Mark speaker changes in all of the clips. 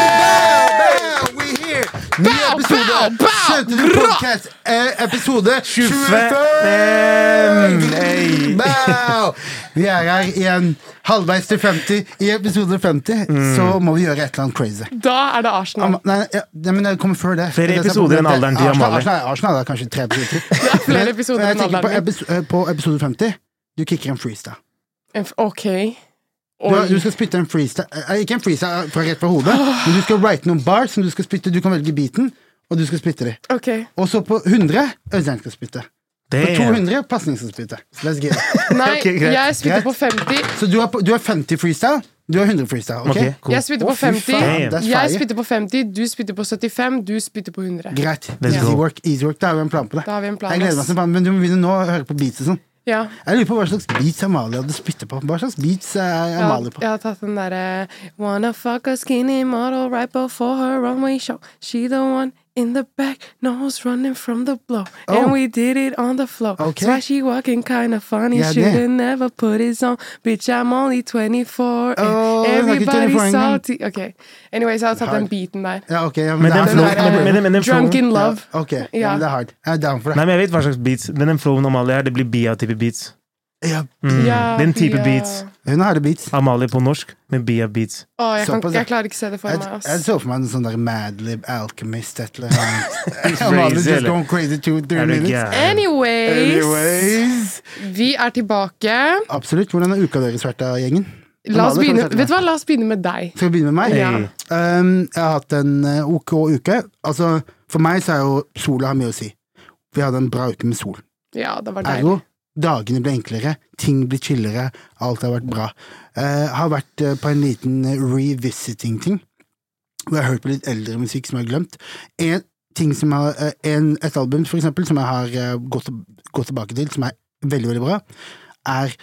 Speaker 1: Bow, we here! Ny episode av Kjente podcast, eh, episode 25!
Speaker 2: Hey.
Speaker 1: Bow! Vi er her igjen halvveis til 50. I episode 50
Speaker 2: Mm.
Speaker 1: så må vi gjøre et eller annet crazy.
Speaker 3: Da er det Arsenal.
Speaker 1: Am- Nei, ja, nei, men det kommer før det.
Speaker 2: Flere
Speaker 1: Det er det som er
Speaker 2: episoder enn
Speaker 1: problemet.
Speaker 2: alderen til
Speaker 1: Arsenal-
Speaker 2: Amalie.
Speaker 1: Arsenal, Arsenal er kanskje tre episoder til.
Speaker 3: Det er flere
Speaker 1: Men-
Speaker 3: episoder
Speaker 1: men jeg
Speaker 3: enn
Speaker 1: tenker på,
Speaker 3: alderen
Speaker 1: epis- eh, på episode 50. Du kicker en freestyle.
Speaker 3: F- Ok.
Speaker 1: Du,
Speaker 3: Oi.
Speaker 1: du skal spytte en freestyle eh, Ikke en freestyle fra rett fra hodet, men du skal write noen bars som du skal spytte. Du kan velge beaten, og du skal spytte de.
Speaker 3: Ok.
Speaker 1: Og så på 100 Øystein skal spytte. På
Speaker 2: Damn.
Speaker 1: 200 pasning skal spytte. Så Let's get it.
Speaker 3: Nei,
Speaker 2: Ok, greit.
Speaker 3: jeg spytter
Speaker 1: Greit.
Speaker 3: på 50.
Speaker 1: Så du har, på- du har 50 freestyle, du har 100 freestyle. Ok?
Speaker 2: Ok, cool.
Speaker 3: Jeg spytter på
Speaker 1: Å, fy faen,
Speaker 3: 50.
Speaker 1: that's
Speaker 3: Jeg
Speaker 1: fire.
Speaker 3: spytter på 50, du spytter på 75, du spytter på 100.
Speaker 1: Greit.
Speaker 2: Let's
Speaker 1: Easy
Speaker 2: go.
Speaker 1: work. easy work, Da har vi en plan på det.
Speaker 3: Da har vi en plan,
Speaker 1: jeg gleder meg
Speaker 3: ass.
Speaker 1: til planen, Men du må begynne nå å høre på beats og sånn.
Speaker 3: Ja.
Speaker 1: Jeg lurer på hva slags beats Amalie hadde spyttet på. Hva slags beats eh, er
Speaker 3: Jeg har,
Speaker 1: Amalie på?
Speaker 3: jeg har tatt den derre Wanna fuck a skinny model right before her runway show. She the one in the back, nose running from the blow.
Speaker 1: Oh.
Speaker 3: And we did it on the floor.
Speaker 1: Ok.
Speaker 3: That's why she walking kinda funny.
Speaker 1: Ja, det.
Speaker 3: Should've never put it on. Bitch, I'm only 24. And
Speaker 1: Åh, hun er ikke 24
Speaker 3: everybody's
Speaker 1: engang.
Speaker 3: salty. Ok. Anyways, jeg har tatt den beaten der.
Speaker 1: Ja, ok. Ja,
Speaker 2: Men
Speaker 1: det
Speaker 2: den
Speaker 1: er-
Speaker 3: Den
Speaker 2: flow-
Speaker 1: det er-
Speaker 2: men- men-
Speaker 3: der,
Speaker 2: men
Speaker 3: eh,
Speaker 2: den
Speaker 3: Drunk
Speaker 2: flowen-
Speaker 3: in love.
Speaker 1: Ja, ok, ja.
Speaker 3: Ja.
Speaker 1: men det er hard. Jeg er down for det.
Speaker 2: Nei, men jeg vet hva slags beats. Men den flowen Amalie her, det blir bia-type beats. Mm.
Speaker 1: Ja,
Speaker 3: Ja,
Speaker 2: Den type
Speaker 3: ja.
Speaker 2: beats.
Speaker 1: hun har harde beats.
Speaker 2: Amalie på norsk med bia-beats.
Speaker 3: Åh, jeg, kan,
Speaker 1: Såpass, ja.
Speaker 3: jeg klarer ikke se det for
Speaker 1: Jeg,
Speaker 3: meg, ass.
Speaker 1: jeg så for meg en sånn der Madlib Alchemist et eller annet.
Speaker 2: Crazy,
Speaker 1: Amalie just
Speaker 2: eller?
Speaker 1: going crazy two, three
Speaker 2: Er du
Speaker 1: minutes.
Speaker 2: gæren?
Speaker 3: Anyways,
Speaker 1: Anyways.
Speaker 3: vi er tilbake.
Speaker 1: Absolutt. Hvordan har uka deres vært, da, gjengen?
Speaker 3: La oss
Speaker 1: Amalie, kan du
Speaker 3: begynne,
Speaker 1: starte med?
Speaker 3: vet du hva, la oss begynne med deg.
Speaker 1: Skal vi begynne med meg?
Speaker 3: Ja.
Speaker 1: Um, jeg har hatt en eh, ok uke. Altså, for meg så er jo sola har mye å si. Vi hadde en bra uke med sol.
Speaker 3: Ja, det var deg.
Speaker 1: Ergo, dagene ble enklere, ting blir chillere, alt har vært bra. Eh, har vært eh, på en liten eh, revisiting-ting, hvor jeg har hørt på litt eldre musikk som jeg har glemt. En ting som har, eh, en, et album, for eksempel, som jeg har eh, gått, gått tilbake til, som er veldig, veldig bra, er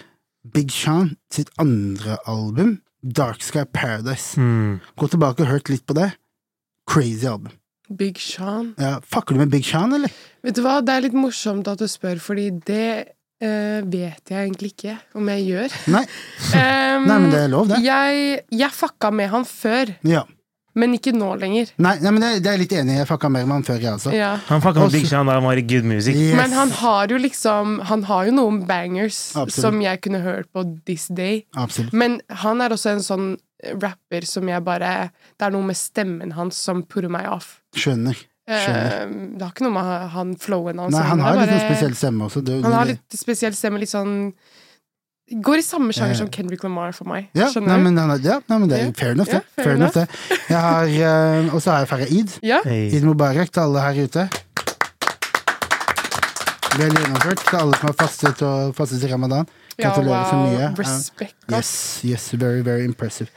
Speaker 1: Big Sean sitt andre album, Dark Sky Paradise.
Speaker 2: Mm.
Speaker 1: Gå tilbake og hørt litt på det. Crazy album.
Speaker 3: Big Sean.
Speaker 1: Ja, fucker du med Big Sean, eller?
Speaker 3: Vet du hva, det er litt morsomt at du spør, fordi det eh, vet jeg egentlig ikke om jeg gjør.
Speaker 1: Nei,
Speaker 3: Em,
Speaker 1: nei men det er lov, det.
Speaker 3: jeg, jeg fucka med han før,
Speaker 1: Ja.
Speaker 3: men ikke nå lenger.
Speaker 1: Nei, nei men det, det er jeg litt enig i. Jeg fucka mer med han før, jeg også.
Speaker 3: Ja.
Speaker 2: Han fucka med
Speaker 1: Også-
Speaker 2: Big Sean da han var i Good Music.
Speaker 1: Yes.
Speaker 3: Men han har jo liksom Han har jo noen bangers
Speaker 1: Absolutt.
Speaker 3: som jeg kunne hørt på this day.
Speaker 1: Absolutt.
Speaker 3: Men han er også en sånn rapper som jeg bare Det er noe med stemmen hans som putter meg off.
Speaker 1: Skjønner. Skjønner.
Speaker 3: Eh, det har ikke noe med ha- han flowen hans
Speaker 1: Nei, han
Speaker 3: det er
Speaker 1: har litt
Speaker 3: bare-
Speaker 1: sånn spesiell stemme også. Det,
Speaker 3: Han har litt spesiell stemme, litt sånn Går i samme sjanger
Speaker 1: Eh.
Speaker 3: som Kendrick Lamar for meg.
Speaker 1: ja,
Speaker 3: Skjønner
Speaker 1: nei,
Speaker 3: du?
Speaker 1: men, han er, ja, nei, men det er
Speaker 3: Ja.
Speaker 1: fair enough, det.
Speaker 3: Ja,
Speaker 1: fair enough. det. Jeg har, eh, Og så har jeg feira id.
Speaker 3: Ja?
Speaker 2: Hey.
Speaker 1: Id Mubarak til alle her ute. Vel gjennomført til alle som har fastet, og, fastet i ramadan.
Speaker 3: ja,
Speaker 1: Gratulerer så mye. Ja.
Speaker 3: Respect, ass.
Speaker 1: Yes, yes, very, very impressive.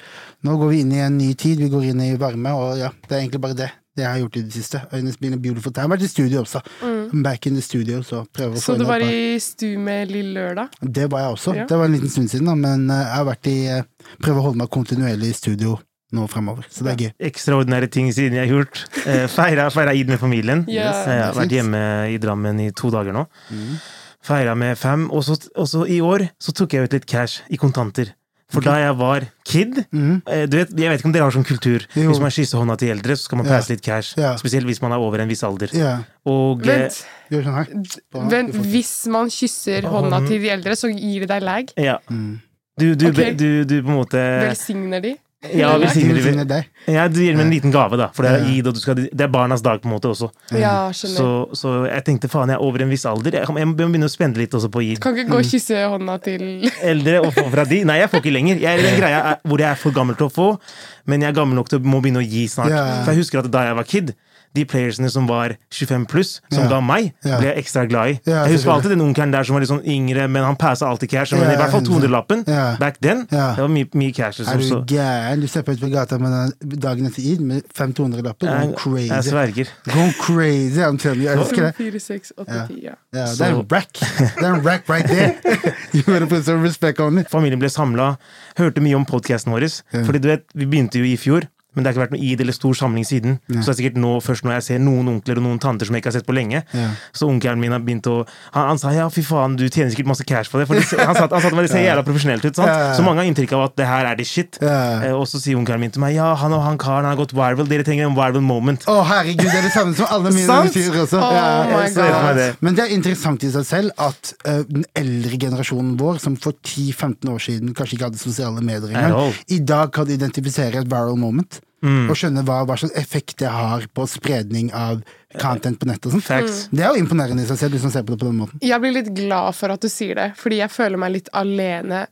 Speaker 1: Nå går vi inn i en ny tid, vi går inn i varme, og ja, det er egentlig bare det. Det jeg har gjort i det siste. Øynes been a beautiful time. Jeg har vært i studio også. I'm Back in the studio, så prøver å få
Speaker 3: Mm. Så
Speaker 1: inn
Speaker 3: du
Speaker 1: et
Speaker 3: var
Speaker 1: par-
Speaker 3: i stu med Lille Lørdag?
Speaker 1: Det var jeg også.
Speaker 3: Ja.
Speaker 1: Det var en liten stund siden, da, men eh, jeg har vært i eh, Prøver å holde meg kontinuerlig i studio nå fremover, så det er gøy.
Speaker 2: Ekstraordinære ting siden jeg har gjort. Eh, feira, feira id med familien.
Speaker 3: Ja.
Speaker 2: Eh, Jeg har vært hjemme i Drammen i to dager nå.
Speaker 1: Mm.
Speaker 2: Feira med fem. Og så, og så i år så tok jeg ut litt cash i kontanter. For da jeg var kid
Speaker 1: Mhm.
Speaker 2: eh, du vet, Jeg vet ikke om dere har sånn kultur.
Speaker 1: Jo.
Speaker 2: Hvis man kysser hånda til eldre, så skal man
Speaker 1: Ja.
Speaker 2: passe litt cash.
Speaker 1: Ja.
Speaker 2: Spesielt hvis man er over en viss alder.
Speaker 1: Ja.
Speaker 2: Og eh,
Speaker 3: Vent,
Speaker 1: Gjør sånn her. På-
Speaker 3: vent,
Speaker 1: du får-
Speaker 3: hvis man kysser hånda til de eldre, så gir det deg lag?
Speaker 2: eh, ja.
Speaker 1: Mm.
Speaker 2: du, du,
Speaker 3: Ok.
Speaker 2: du, du på en måte
Speaker 3: Velsigner de?
Speaker 1: eh,
Speaker 2: Ja,
Speaker 3: lag?
Speaker 1: Ting
Speaker 2: velsigner de.
Speaker 1: finner deg.
Speaker 2: Ja, du gir dem en liten gave, da. For det er
Speaker 1: Ja.
Speaker 2: id, og du skal, det er barnas dag på en måte også.
Speaker 3: Ja,
Speaker 2: Så,
Speaker 3: skjønner.
Speaker 2: så jeg tenkte faen, jeg er over en viss alder. Jeg, jeg må begynne å spende litt også på id.
Speaker 3: Kan ikke gå og
Speaker 1: Mm.
Speaker 3: kysse hånda til
Speaker 2: Eldre og få fra de. Nei, jeg får ikke lenger. Jeg er i den greia er- hvor jeg er for gammel til å få, men jeg er gammel nok til å må begynne å gi snart.
Speaker 1: Ja.
Speaker 2: For jeg husker at da jeg var kid, de playersene som var 25 pluss, som
Speaker 1: Ja.
Speaker 2: ga meg,
Speaker 1: Ja.
Speaker 2: ble jeg ekstra glad i.
Speaker 1: Ja,
Speaker 2: jeg
Speaker 1: selvfølgelig.
Speaker 2: husker alltid den onkelen der som var litt sånn yngre, men han passa alltid cash. Men
Speaker 1: Ja,
Speaker 2: I hvert fall
Speaker 1: ja, ja.
Speaker 2: 200-lappen
Speaker 1: Ja.
Speaker 2: back then.
Speaker 1: Ja.
Speaker 2: Det var mye, mye cash.
Speaker 1: Er
Speaker 2: Liksom,
Speaker 1: du
Speaker 2: så,
Speaker 1: gæren? Du stepper ut på gata med den dagen etter id med 500-lapper. Go
Speaker 2: jeg, jeg
Speaker 1: crazy.
Speaker 2: sverger.
Speaker 1: Go crazy, I'm telling you. Jeg elsker det.
Speaker 3: 4, 6, 8, 10, ja.
Speaker 1: Ja, det er
Speaker 2: Så-
Speaker 1: en rack. Det er en rack right there. You better put some respect on it.
Speaker 2: Familien ble samla, hørte mye om podkasten vår. Fordi du vet, vi begynte jo i fjor, men det har ikke vært noe id eller stor samling siden. Så det er sikkert nå, først når jeg ser noen onkler og noen tanter som jeg ikke har sett på lenge.
Speaker 1: Ja.
Speaker 2: Så onkelen min har begynt å han, han sa ja, fy faen, du tjener sikkert masse cash på det. For det, ser- han satt han satt med det ser jævla profesjonelt ut. sant?
Speaker 1: Ja, ja, ja.
Speaker 2: Så mange har inntrykk av at det her er det shit.
Speaker 1: Ja.
Speaker 2: Eh, Og så sier onkelen min til meg ja, han og han karen har gått viral. Dere trenger en viral moment.
Speaker 1: Å, herregud, det er det samme som alle mine
Speaker 2: Sant?
Speaker 1: sier også.
Speaker 3: Oh my
Speaker 2: jeg ser for meg det.
Speaker 1: Men det er interessant i seg selv at eh, den eldre generasjonen vår, som for 10-15 år siden kanskje ikke hadde sosiale medier
Speaker 2: At all.
Speaker 1: engang, i dag kan identifisere et viral moment. Og skjønne hva, hva slags effekt det har på spredning av content på nett. og sånt.
Speaker 2: Facts.
Speaker 1: Det er jo imponerende i seg selv, hvis man ser på det på den måten.
Speaker 3: Jeg blir litt glad for at du sier det, fordi jeg føler meg litt alene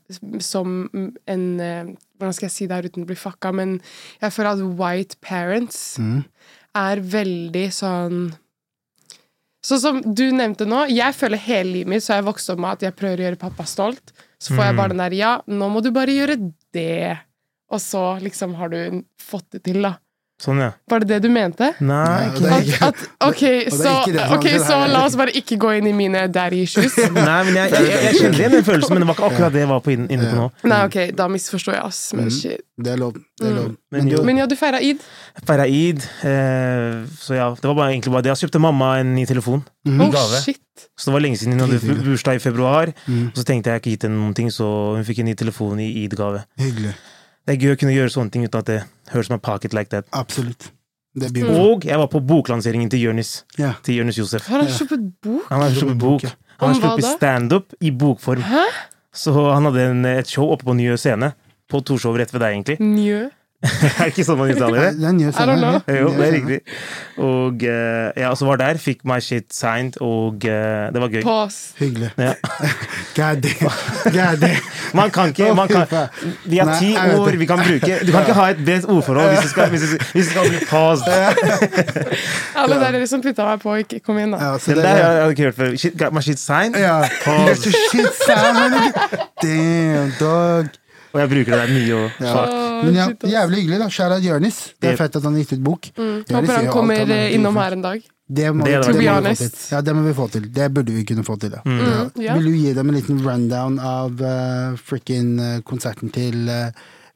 Speaker 3: som en eh, Hvordan skal jeg si det her uten å bli fucka, men jeg føler at white parents
Speaker 1: Mm.
Speaker 3: er veldig sånn Sånn som du nevnte nå, jeg føler hele livet mitt så har jeg vokst opp med at jeg prøver å gjøre pappa stolt. Så får jeg
Speaker 1: Mm.
Speaker 3: bare den der Ja, nå må du bare gjøre det. Og så liksom har du fått det til, da.
Speaker 2: Sånn, ja.
Speaker 3: Var det det du mente?
Speaker 2: Nei,
Speaker 1: det
Speaker 2: ikke.
Speaker 1: er
Speaker 3: At,
Speaker 1: ikke-
Speaker 3: at, ok,
Speaker 1: og det er
Speaker 3: så,
Speaker 1: ikke det som
Speaker 3: ok,
Speaker 1: skjer
Speaker 3: så
Speaker 1: her.
Speaker 3: la oss bare ikke gå inn i mine daddy issues.
Speaker 2: Nei, men jeg, jeg, jeg, jeg kjente igjen den følelsen, men det var ikke akkurat det jeg var på inne, inne på nå.
Speaker 3: Nei,
Speaker 1: Mm.
Speaker 3: ok, da misforstår jeg oss. Men shit.
Speaker 1: Det er lov. Det er lov.
Speaker 2: Men jo,
Speaker 3: Men ja, du feira id.
Speaker 2: Feira id. Eh, så ja, det var bare, egentlig bare det. Jeg kjøpte mamma en ny telefon.
Speaker 1: Mm.
Speaker 3: Oh,
Speaker 2: Gave.
Speaker 3: shit.
Speaker 2: Så det var lenge siden hun hadde bu- bursdag i februar. Og så tenkte jeg ikke gitt henne noen ting, så hun fikk en ny telefon i id-gave.
Speaker 1: Hyggelig.
Speaker 2: Det er gøy å kunne gjøre sånne ting uten at det høres som en pocket like that.
Speaker 1: Absolutt. Det er beautiful.
Speaker 2: Og jeg var på boklanseringen til Jonis.
Speaker 1: Ja.
Speaker 2: Til Jonis Josef.
Speaker 3: Har han kjøpt bok?
Speaker 2: Han har sluppet bok. Han har
Speaker 3: Om hva
Speaker 2: sluppet
Speaker 3: da?
Speaker 2: standup i bokform.
Speaker 3: Hæ?
Speaker 2: Så han hadde en, et show oppe på Nye Scene. På Torshov rett ved deg, egentlig.
Speaker 3: Njø.
Speaker 2: er det ikke sånn man uttaler det?
Speaker 1: Det er en ny
Speaker 3: I don't know.
Speaker 1: scene.
Speaker 2: Jo, det er riktig. Og eh, ja, så var der, fikk my shit signed, og eh, det var gøy.
Speaker 3: Pass.
Speaker 1: Hyggelig.
Speaker 2: Ja.
Speaker 1: God damn. God damn.
Speaker 2: Man kan ikke man kan, Vi har
Speaker 1: Nei,
Speaker 2: ti
Speaker 1: jeg vet
Speaker 2: ord
Speaker 1: det.
Speaker 2: vi kan bruke. Du kan ikke ha et bredt ordforråd hvis det skal, hvis det, hvis det skal bli paused.
Speaker 3: Alle dere som putta meg på, ikke kom igjen, da.
Speaker 1: Ja, så
Speaker 2: Den
Speaker 1: det,
Speaker 2: der har jeg ikke hørt før. Shit, got my shit signed.
Speaker 1: ja. Get your shit sammen, nigga. Damn, dog.
Speaker 2: Og jeg bruker det der mye. Og,
Speaker 1: Ja.
Speaker 2: Fuck.
Speaker 3: Åh,
Speaker 1: Men ja,
Speaker 3: shit, ass. Mm.
Speaker 1: jævlig hyggelig, da. Shout out Jonis. Det
Speaker 2: Yep.
Speaker 1: er fett at han har gitt ut bok. Jonis
Speaker 3: Håper
Speaker 1: gjør
Speaker 3: han
Speaker 1: alt
Speaker 3: kommer
Speaker 1: har gjort
Speaker 3: eh, innom
Speaker 1: for-
Speaker 3: her en dag.
Speaker 1: Det må,
Speaker 2: Det Mm.
Speaker 1: det,
Speaker 2: hadde
Speaker 1: det,
Speaker 2: vært
Speaker 1: må
Speaker 3: gøy.
Speaker 1: vi få til. Ja, det må vi få til. Det burde vi kunne få til. Da. Ja.
Speaker 3: Mm, ja.
Speaker 1: Vil du gi dem en liten rundown av uh, frikken eh, konserten til eh,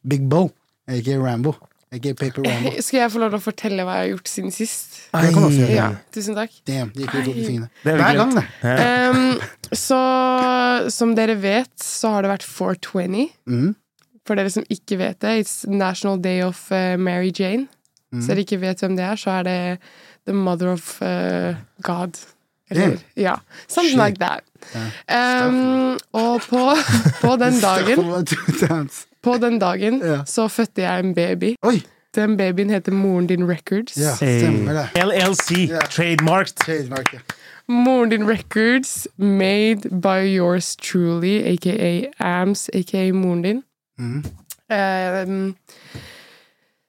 Speaker 1: Big Bo? Ikke Rambo. Ikke Paper Rambo.
Speaker 3: Skal jeg få lov til å fortelle hva jeg har gjort siden sist?
Speaker 1: Det kan man si.
Speaker 2: Ei.
Speaker 3: Ja, tusen takk.
Speaker 1: Damn, det gikk jo fort i fingrene.
Speaker 2: Det er jo
Speaker 1: Hver
Speaker 2: glemt.
Speaker 1: gang, det.
Speaker 3: Ehm, så som dere vet, så har det vært 420.
Speaker 1: Mhm.
Speaker 3: For dere som ikke vet det, it's National Day of eh, Mary Jane.
Speaker 1: Mm.
Speaker 3: Så dere ikke vet hvem det er, så er det The Mother of eh, God. Eller,
Speaker 1: Damn.
Speaker 3: ja, something like that. Ehm, og på, på den dagen, på den dagen
Speaker 1: Ja.
Speaker 3: så fødte jeg en baby.
Speaker 1: Oi!
Speaker 3: Den babyen heter moren din Records.
Speaker 1: Ja, stemmer det.
Speaker 2: LLC, trademarked.
Speaker 1: Trademarket.
Speaker 3: Moren din Records, made by yours truly, aka AMS, aka moren din. Um,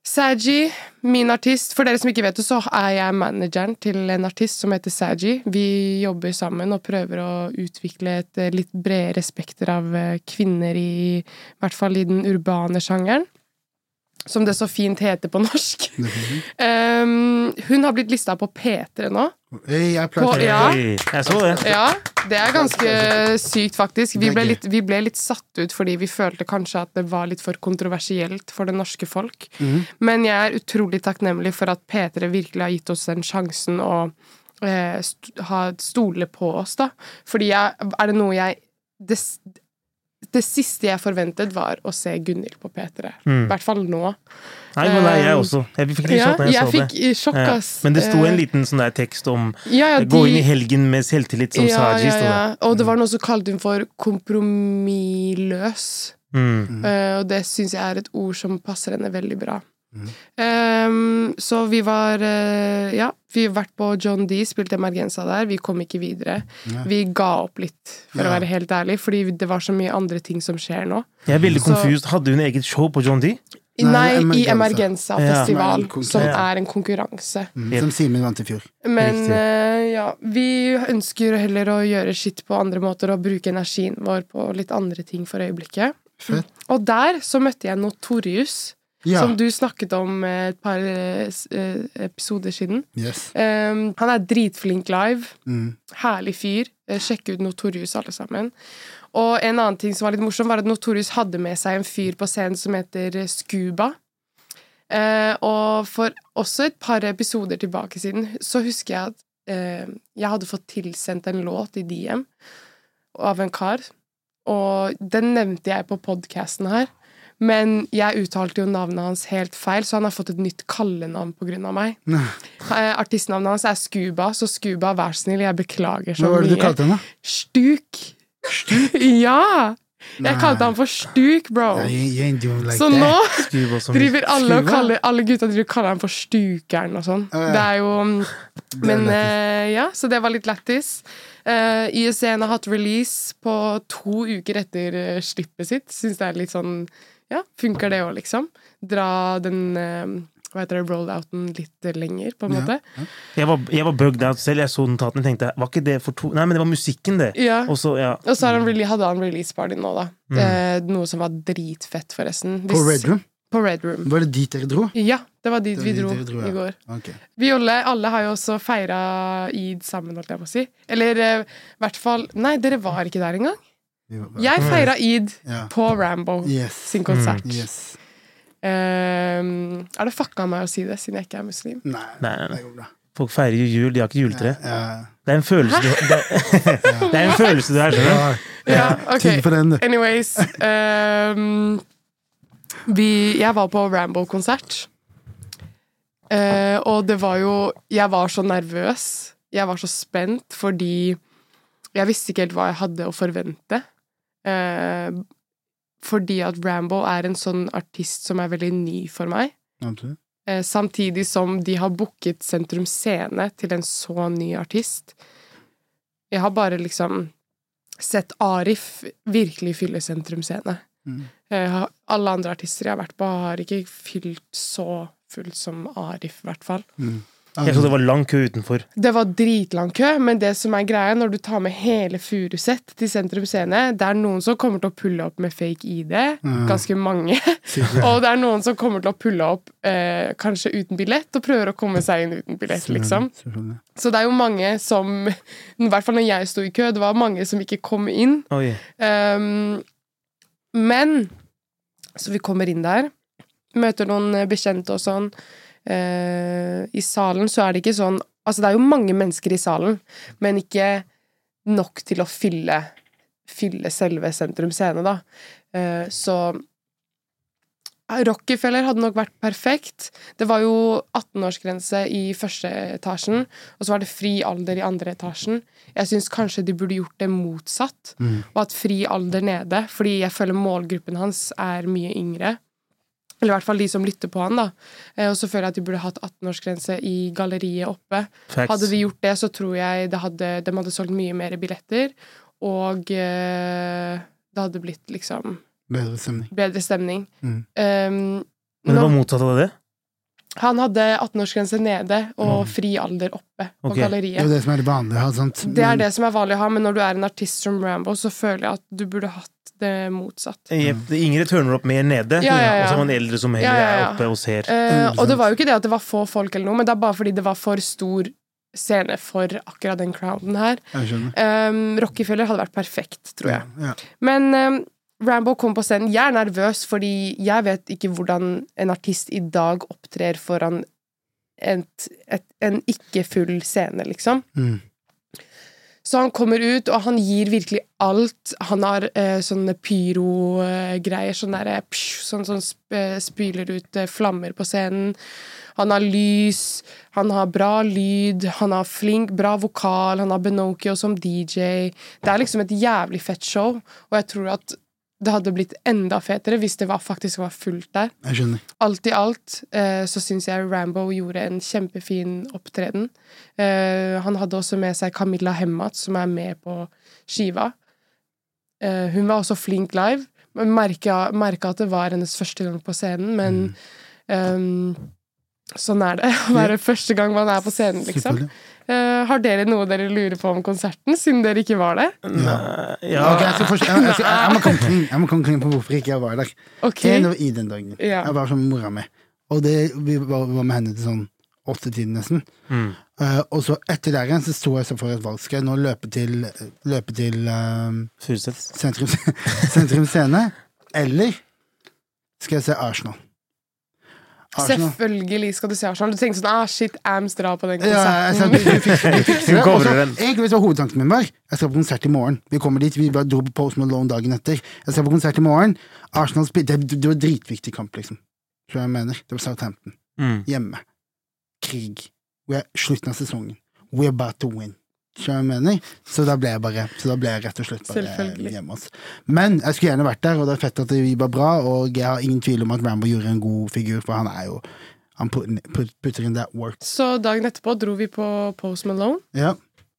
Speaker 3: Saji, min artist. For dere som ikke vet det, så er jeg manageren til en artist som heter Saji. Vi jobber sammen og prøver å utvikle et eh, litt bredere spekter av eh, kvinner i, i hvert fall i den urbane sjangeren. Som det så fint heter på norsk. Um, hun har blitt lista på P3 nå.
Speaker 1: Hey, jeg
Speaker 3: På,
Speaker 1: pleier
Speaker 3: ja,
Speaker 2: Hey, Jeg så det.
Speaker 3: ja, det er ganske sykt, faktisk. Vi
Speaker 1: Det er
Speaker 3: ble,
Speaker 1: gøy.
Speaker 3: litt, vi ble litt satt ut fordi vi følte kanskje at det var litt for kontroversielt for det norske folk.
Speaker 2: Mhm.
Speaker 3: Men jeg er utrolig takknemlig for at P3 virkelig har gitt oss den sjansen å eh, st ha stole på oss, da. Fordi jeg, er det noe jeg det, s- det siste jeg forventet, var å se Gunhild på P3.
Speaker 2: Mm.
Speaker 3: I hvert fall nå.
Speaker 2: Nei, men nei, jeg også. Jeg fikk litt
Speaker 3: Ja,
Speaker 2: sjokk da
Speaker 3: jeg
Speaker 2: jeg så
Speaker 3: fikk
Speaker 2: det.
Speaker 3: eh, sjokk,
Speaker 2: Ja.
Speaker 3: ass.
Speaker 2: Men det sto
Speaker 3: Eh,
Speaker 2: en liten sånn der tekst om
Speaker 3: ja, ja,
Speaker 2: Gå inn
Speaker 3: de-
Speaker 2: i helgen med selvtillit som Saji. sto det.
Speaker 3: Og
Speaker 1: Mm.
Speaker 3: det var noe som kalte hun for kompromissløs.
Speaker 2: Mm.
Speaker 3: Eh, og det syns jeg er et ord som passer henne veldig bra.
Speaker 1: Mm.
Speaker 3: Ehm, så vi var eh, Ja, vi har vært på John D, spilte Emergenza der. Vi kom ikke videre. Vi ga opp litt, for å
Speaker 1: Ja.
Speaker 3: være helt ærlig, fordi det var så mye andre ting som skjer nå.
Speaker 2: Jeg er veldig
Speaker 3: Så-
Speaker 2: confused. Hadde hun eget show på John D?
Speaker 1: Nei,
Speaker 3: Nei, i
Speaker 1: Emergenza.
Speaker 3: Emergenza-festival,
Speaker 1: Ja.
Speaker 3: som
Speaker 1: Ja.
Speaker 3: er en konkurranse.
Speaker 1: Mm, som Simen vant i fjor.
Speaker 3: Men
Speaker 2: Riktig.
Speaker 3: eh, ja, vi ønsker heller å gjøre skitt på andre måter og bruke energien vår på litt andre ting for øyeblikket.
Speaker 1: Fett.
Speaker 3: Og der så møtte jeg Notorius,
Speaker 1: Ja.
Speaker 3: Mm. som du snakket om eh, et par eh, s- eh, episoder siden.
Speaker 1: Yes.
Speaker 3: Ehm, han er dritflink live.
Speaker 1: Mm.
Speaker 3: Herlig fyr. Eh, Sjekk ut Notorius, alle sammen. Og en annen ting som var litt morsom, var at Notorius hadde med seg en fyr på scenen som heter eh, Scuba. Eh, og for også et par episoder tilbake siden så husker jeg at eh, jeg hadde fått tilsendt en låt i DM av en kar. Og den nevnte jeg på podkasten her. Men jeg uttalte jo navnet hans helt feil, så han har fått et nytt kallenavn på grunn av meg.
Speaker 1: Nei.
Speaker 3: Eh, Artistnavnet hans er Scuba, så Scuba, vær så snill, jeg beklager så
Speaker 1: Hva var det du
Speaker 3: mye.
Speaker 1: kalte henne?
Speaker 3: Stuk. Stuk? ja! Jeg kalte han for Stuk, bro.
Speaker 1: Nei, you, you ain't doing like
Speaker 3: så
Speaker 1: that.
Speaker 3: nå
Speaker 2: Skriv også om-
Speaker 3: driver alle og
Speaker 1: Scuba?
Speaker 3: kaller Alle gutta driver og kaller han for Stukeren og sånn.
Speaker 1: Ja, ja.
Speaker 3: Det er jo
Speaker 1: er
Speaker 3: Men
Speaker 1: lættis.
Speaker 3: eh, ja, så det var litt lættis. Uh, ISN har hatt release på to uker etter eh, slippet sitt. Syns det er litt sånn Ja, funker det òg, liksom? Dra den eh, hva heter det, rollouten litt lenger, på en
Speaker 1: Ja.
Speaker 3: måte.
Speaker 2: Jeg var, jeg var bugged out selv. Jeg så notatene og tenkte var ikke det for to Nei, men det var musikken, det.
Speaker 3: Ja.
Speaker 2: Og så, ja.
Speaker 3: Og så har han
Speaker 1: Mm.
Speaker 3: rele- hadde han release-party nå, da. Eh, noe som var dritfett, forresten.
Speaker 1: På Red Room?
Speaker 3: På Red Room.
Speaker 1: Var det dit dere dro?
Speaker 3: Ja, det var dit
Speaker 1: Det var
Speaker 3: vi
Speaker 1: dit
Speaker 3: dro
Speaker 1: dere dro, ja.
Speaker 3: i går.
Speaker 1: Ok.
Speaker 3: Vi alle, alle har jo også feira id sammen, holdt jeg på å si. Eller i hvert fall Nei, dere var ikke der engang.
Speaker 1: Vi var-
Speaker 3: Jeg feira id
Speaker 1: Mm. Ja.
Speaker 3: på Rambo
Speaker 1: Yes.
Speaker 3: sin konsert.
Speaker 1: yes.
Speaker 3: Eh, er det fucka av meg å si det, siden jeg ikke er muslim?
Speaker 1: Nei,
Speaker 2: Nei, nei,
Speaker 1: det
Speaker 2: nei.
Speaker 1: går bra.
Speaker 2: Folk feirer jo jul, de har ikke juletre.
Speaker 1: Ja.
Speaker 2: Det er en følelse du det, det er en følelse du har, skjønner du.
Speaker 1: Ja,
Speaker 3: Ja, ok.
Speaker 1: Tygg på den, du.
Speaker 3: Anyways ehm, vi, Jeg var på Rambo-konsert. Eh, og det var jo Jeg var så nervøs. Jeg var så spent fordi jeg visste ikke helt hva jeg hadde å forvente. Eh, fordi at Rambo er en sånn artist som er veldig ny for meg.
Speaker 1: Absolutt.
Speaker 3: Eh, samtidig som de har booket Sentrum Scene til en så ny artist. Jeg har bare liksom sett Arif virkelig fylle Sentrum Scene.
Speaker 1: Mm.
Speaker 3: Eh, ha- alle andre artister jeg har vært på, har ikke fylt så fullt som Arif, i hvert fall.
Speaker 2: Jeg så det var lang kø utenfor.
Speaker 3: Det var dritlang kø, men det som er greia, når du tar med hele Furuset til Sentrum Scene, det er noen som kommer til å pulle opp med fake ID.
Speaker 1: Mm.
Speaker 3: Ganske mange.
Speaker 1: Sikkert.
Speaker 3: Og det er noen som kommer til å pulle opp eh, kanskje uten billett, og prøver å komme seg inn uten billett, liksom.
Speaker 1: Selvfølgelig.
Speaker 3: Så det er jo mange som I hvert fall når jeg sto i kø, det var mange som ikke kom inn.
Speaker 2: Oi.
Speaker 3: Ehm, men Så vi kommer inn der, møter noen eh, bekjente og sånn. Eh, I salen så er det ikke sånn Altså, det er jo mange mennesker i salen, men ikke nok til å fylle Fylle selve Sentrum Scene, da. Eh, så Rockefeller hadde nok vært perfekt. Det var jo 18-årsgrense i første etasjen, og så var det fri alder i andre etasjen. Jeg syns kanskje de burde gjort det motsatt, og hatt fri alder nede, fordi jeg føler målgruppen hans er mye yngre. Eller i hvert fall de som lytter på han, da. Eh, Og så føler jeg at de burde hatt 18-årsgrense i galleriet oppe.
Speaker 2: Facts.
Speaker 3: Hadde de gjort det, så tror jeg det hadde, de hadde solgt mye mer billetter, og eh, det hadde blitt liksom
Speaker 1: Bedre stemning.
Speaker 3: bedre stemning.
Speaker 1: Mm.
Speaker 3: Um,
Speaker 2: Men det var
Speaker 3: nå-
Speaker 2: motsatt av det?
Speaker 3: han hadde 18-årsgrense nede og fri alder oppe på
Speaker 1: Det
Speaker 2: Mm. Ok.
Speaker 1: er jo
Speaker 3: galleriet.
Speaker 1: det som er det sånn. vanlige. å ha, sant?
Speaker 3: Det er det som er vanlig å ha, men når du er en artist som Rambo, så føler jeg at du burde hatt det motsatt.
Speaker 2: Jep, de Yngre turner opp mer nede,
Speaker 3: Ja, ja, ja.
Speaker 2: og så er man eldre som heller
Speaker 3: Ja, ja, ja.
Speaker 2: er oppe og ser.
Speaker 3: Eh, og det
Speaker 1: sant.
Speaker 3: var jo ikke det at det var få folk, eller noe, men det er bare fordi det var for stor scene for akkurat den crowden her.
Speaker 1: Jeg skjønner.
Speaker 3: Um, Rockefeller hadde vært perfekt, tror jeg.
Speaker 1: Ja.
Speaker 3: Men ehm, Rambo kom på scenen. Jeg er nervøs, fordi jeg vet ikke hvordan en artist i dag opptrer foran et, et, en ikke-full scene, liksom.
Speaker 1: Mm.
Speaker 3: Så han kommer ut, og han gir virkelig alt. Han har eh, sånne pyrogreier, sånn derre psj, Sånn som sp eh, spyler ut eh, flammer på scenen. Han har lys, han har bra lyd, han har flink, bra vokal, han har Benokio som DJ. Det er liksom et jævlig fett show, og jeg tror at det hadde blitt enda fetere hvis det var, faktisk var fullt der.
Speaker 1: Jeg skjønner.
Speaker 3: Alt i alt eh, så syns jeg Rambo gjorde en kjempefin opptreden. Eh, han hadde også med seg Camilla Hemmat, som er med på skiva. Eh, hun var også flink live, merka, merka at det var hennes første gang på scenen, men
Speaker 1: Mm.
Speaker 3: ehm, sånn er det å være første gang man er på scenen, liksom.
Speaker 1: Selvfølgelig.
Speaker 3: Eh, har dere noe dere lurer på om konserten, siden dere ikke var der?
Speaker 2: Nei, ja.
Speaker 1: Ok, jeg, skal forst- jeg, jeg, skal- jeg, jeg må komme clean jeg må komme clean på hvorfor ikke jeg var der.
Speaker 3: Ok,
Speaker 1: En av i den dagen.
Speaker 3: Ja.
Speaker 1: Jeg var sammen med mora mi. Og det, vi var, var med henne til sånn åttetiden nesten.
Speaker 2: Mm.
Speaker 1: Eh, og så etter der igjen så sto jeg så for et valg. Skal jeg nå løpe til, løpe til eh,
Speaker 2: Furuseths.
Speaker 1: sentrum, sentrum Scene, eller skal jeg se Arsenal? Arsenal.
Speaker 3: Selvfølgelig skal du se Arsenal. Du tenkte sånn ah, shit, Ams drar på den
Speaker 1: Ja, jeg sa,
Speaker 3: konserten.
Speaker 1: du, du fikser, du fikser det. Altså,
Speaker 2: Du
Speaker 1: Og så,
Speaker 2: covrer den.
Speaker 1: egentlig så hovedtanken min var jeg skal på konsert i morgen. Vi kommer dit, vi bare dro på Post Malone dagen etter. Jeg skal på konsert i morgen. Arsenal spil, det, det var en dritviktig kamp, liksom. Tror jeg jeg mener. Det var Southampton.
Speaker 2: Mm.
Speaker 1: Hjemme. Krig. Vi er slutten av sesongen. We're about to win. Tror jeg jeg mener. Så da ble jeg bare Så da ble jeg rett og slett bare
Speaker 3: Selvfølgelig.
Speaker 1: hjemme. ass. Men jeg skulle gjerne vært der, og det er fett at vi var bra, og jeg har ingen tvil om at Rambo gjorde en god figur, for han er jo Han put- put- putter in that work.
Speaker 3: Så dagen etterpå dro vi på Post Malone
Speaker 1: Ja.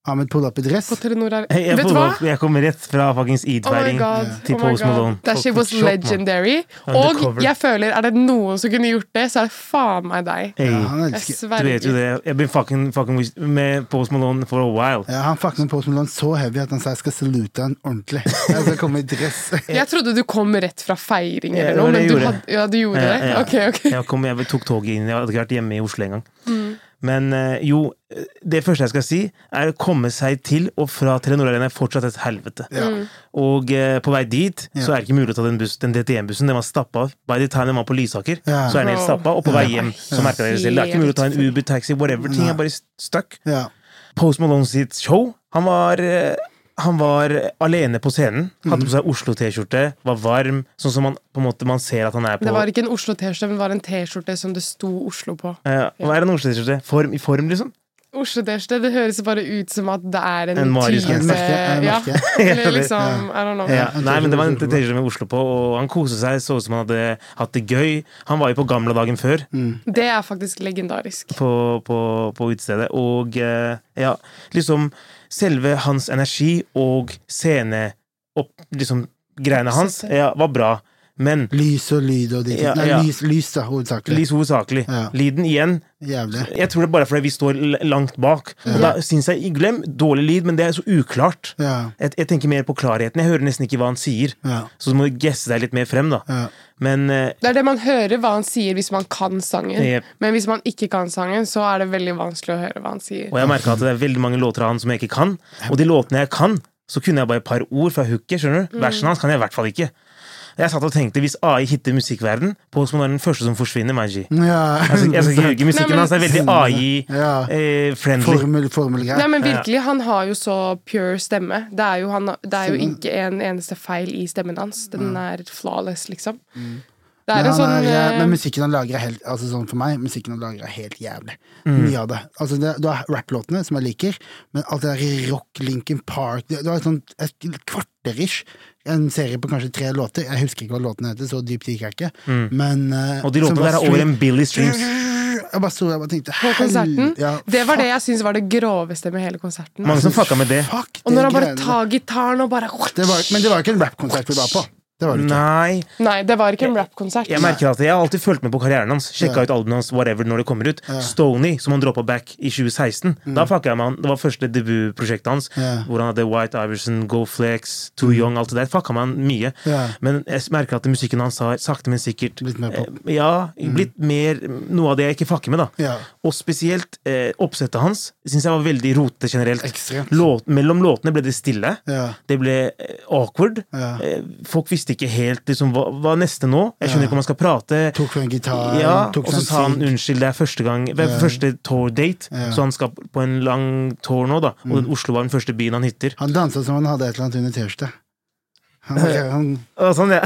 Speaker 1: Ahmed pull up i dress.
Speaker 3: på Telenor Ar-
Speaker 2: Jeg,
Speaker 3: Vet du
Speaker 2: får
Speaker 3: hva?
Speaker 2: opp- jeg kommer rett fra fuckings
Speaker 3: Oh my
Speaker 2: id-feiring
Speaker 3: god.
Speaker 2: til
Speaker 3: Oh my
Speaker 2: Post Malone.
Speaker 3: god. That shit was
Speaker 2: Fucking shot, mann.
Speaker 3: legendary.
Speaker 2: Undercover.
Speaker 3: Og jeg føler, er det noen som kunne gjort det, så er det faen meg deg.
Speaker 2: Hey,
Speaker 1: Ja, han
Speaker 3: Jeg
Speaker 1: elsker
Speaker 2: du vet jo
Speaker 3: sverger.
Speaker 2: det. Jeg been fucking, fucking with- med Post Malone for a while.
Speaker 1: ja, Han fucka med Post Malone så heavy at han sa jeg skal salute han ordentlig. Jeg skal komme i dress.
Speaker 3: Jeg trodde du kom rett fra feiring
Speaker 2: Ja,
Speaker 3: eller
Speaker 2: det
Speaker 3: noe,
Speaker 2: var det
Speaker 3: men
Speaker 2: jeg
Speaker 3: du
Speaker 2: gjorde.
Speaker 3: hadde, ja, du gjorde
Speaker 2: Ja,
Speaker 3: det?
Speaker 2: ja.
Speaker 3: Ok, ok. Mm.
Speaker 2: Jeg, kom, jeg tok toget inn. Jeg hadde ikke vært hjemme i Oslo engang. Men eh, jo, det første jeg skal si, er å komme seg til og fra Telenor Arena er fortsatt et helvete.
Speaker 3: Mm.
Speaker 2: Og eh, på vei dit så er det ikke mulig å ta den, bussen- den DTM-bussen. Den var stappa. By the time den var på Lysaker,
Speaker 1: Ja.
Speaker 2: så er den helt
Speaker 3: Wow.
Speaker 2: stappa. Og på vei hjem så merka dere selv. Det er ikke mulig å ta en
Speaker 3: Helt
Speaker 2: Uber, taxi, whatever. Ting er bare st- stuck.
Speaker 1: Ja.
Speaker 2: Post Malone sitt show. Han var, eh, han var alene på scenen. Hadde på seg Oslo-T-skjorte, var varm, sånn som man, på en måte, man ser at han er på
Speaker 3: Det var ikke en Oslo T-skjorte, men det var en T-skjorte som det sto Oslo på.
Speaker 2: Eh, Hva er en Oslo-T-skjorte? Form, I form, liksom?
Speaker 3: Oslo T-skjorte, det høres bare ut som at det er en,
Speaker 2: En Marius
Speaker 3: type-
Speaker 1: Jeg merker- jeg
Speaker 2: Eh,
Speaker 3: ja.
Speaker 1: merker.
Speaker 3: Eller liksom, I don't know.
Speaker 2: Ja,
Speaker 1: en
Speaker 2: nei, men Det var en
Speaker 1: T-skjorte med
Speaker 2: T-skjorte med Oslo på, og han koste seg. Så ut som han hadde hatt det gøy. Han var jo på gamle dagen før,
Speaker 3: Det er faktisk legendarisk.
Speaker 2: på, på, på utestedet. Og eh, ja, liksom Selve hans energi og scene opp, liksom, greiene hans ja, var bra. Men
Speaker 1: Lys og lyd og de
Speaker 2: Ja,
Speaker 1: tingene. Nei,
Speaker 2: ja.
Speaker 1: lys, lys da, hovedsakelig.
Speaker 2: Lys hovedsakelig.
Speaker 1: Ja.
Speaker 2: Lyden igjen
Speaker 1: Jævlig.
Speaker 2: Jeg tror det er bare fordi vi står l- langt bak. Og da syns jeg Glem dårlig lyd, men det er så uklart.
Speaker 1: Ja.
Speaker 2: Jeg, jeg tenker mer på klarheten. Jeg hører nesten ikke hva han sier.
Speaker 1: Ja.
Speaker 2: Så du må gesse deg litt mer frem, da.
Speaker 1: Ja.
Speaker 2: Men eh,
Speaker 3: Det er det man hører hva han sier hvis man kan sangen.
Speaker 2: Jep.
Speaker 3: Men hvis man ikke kan sangen, så er det veldig vanskelig å høre hva han sier.
Speaker 2: Og jeg merka at det er veldig mange låter av han som jeg ikke kan. Og de låtene jeg kan, så kunne jeg bare et par ord fra hooket. skjønner
Speaker 3: Mm.
Speaker 2: du? Versene hans kan jeg i hvert fall ikke. Jeg satt og tenkte hvis AI hitter musikkverden, Postman er den første som forsvinner. Manji.
Speaker 1: ja.
Speaker 2: Jeg skal, jeg skal ikke ljuge,
Speaker 3: Nei, men-
Speaker 2: musikken hans er veldig
Speaker 1: Mm.
Speaker 2: eh,
Speaker 1: Ja.
Speaker 2: AI-friendly.
Speaker 1: Formel,
Speaker 3: Nei,
Speaker 1: formelgreier.
Speaker 3: men virkelig, Han har jo så pure stemme. Det er jo, han, det er jo
Speaker 1: Mm.
Speaker 3: ikke en eneste feil i stemmen hans. Den er flawless, liksom. Det er
Speaker 1: Men,
Speaker 3: en sånn
Speaker 1: Mm. han er,
Speaker 3: eh,
Speaker 1: men musikken han lager er helt altså sånn for meg, musikken han lager er helt jævlig.
Speaker 2: Mm.
Speaker 1: Mye av det. Altså det du har rapplåtene, som jeg liker, men alt det der rock, Lincoln Park Du har et sånt et kvarter-ish. En serie på kanskje tre låter. Jeg husker ikke hva låtene heter, så dypt gikk jeg ikke. Men, eh,
Speaker 2: Mm. Og de
Speaker 1: som
Speaker 2: låtene
Speaker 1: bare
Speaker 2: der er
Speaker 1: stream-
Speaker 2: over en Billy Streams.
Speaker 1: Jeg bare sto der og bare tenkte
Speaker 3: på konserten.
Speaker 1: hell- ja,
Speaker 3: Det var det jeg syns var det groveste med hele konserten.
Speaker 2: Mange som fucka med det.
Speaker 1: Fuck
Speaker 3: Og
Speaker 1: de
Speaker 3: når han bare
Speaker 1: greiene.
Speaker 3: tar gitaren og bare
Speaker 1: det var, Men det var ikke en rappkonsert vi var på. Det var det ikke.
Speaker 2: Nei.
Speaker 3: Nei, det var ikke en rappkonsert.
Speaker 2: Jeg merker at jeg har alltid fulgt med på karrieren hans. Sjekka
Speaker 1: Ja.
Speaker 2: ut albumene hans whatever når det kommer ut. Stoney, som han droppa back i 2016. Da fucka jeg med han. Det var første debutprosjektet hans.
Speaker 1: Mm. Ja. Mm.
Speaker 2: Hvor han hadde White Iverson, Go Flex, Too Young, alt det der. Fucka med han mye.
Speaker 1: Ja.
Speaker 2: Men jeg merker at musikken hans har sakte, men sikkert
Speaker 1: Blitt mer pop. Mm.
Speaker 2: eh, Ja, blitt mer noe av det jeg ikke fucker med, da.
Speaker 1: Ja.
Speaker 2: Og spesielt eh, oppsettet hans syns jeg var veldig rotete generelt.
Speaker 1: Ekstremt.
Speaker 2: Låt, mellom låtene ble det stille.
Speaker 1: Ja.
Speaker 2: Det ble eh, awkward.
Speaker 1: Ja.
Speaker 2: Eh, folk visste ikke helt liksom, hva, hva er neste nå. Jeg skjønner ikke om han skal prate.
Speaker 1: Tok fra en gitar,
Speaker 2: ja,
Speaker 1: tok
Speaker 2: og
Speaker 1: fra
Speaker 2: så
Speaker 1: en
Speaker 2: sa han
Speaker 1: sink.
Speaker 2: unnskyld, det er første gang det er Første tour-date,
Speaker 1: Ja. Mm.
Speaker 2: så han skal på en lang tour nå, da. Og Oslo var den første byen han hytter.
Speaker 1: Han dansa som han hadde et eller annet under T-skjorte. Han, bare- han,
Speaker 2: Å, sånn, ja.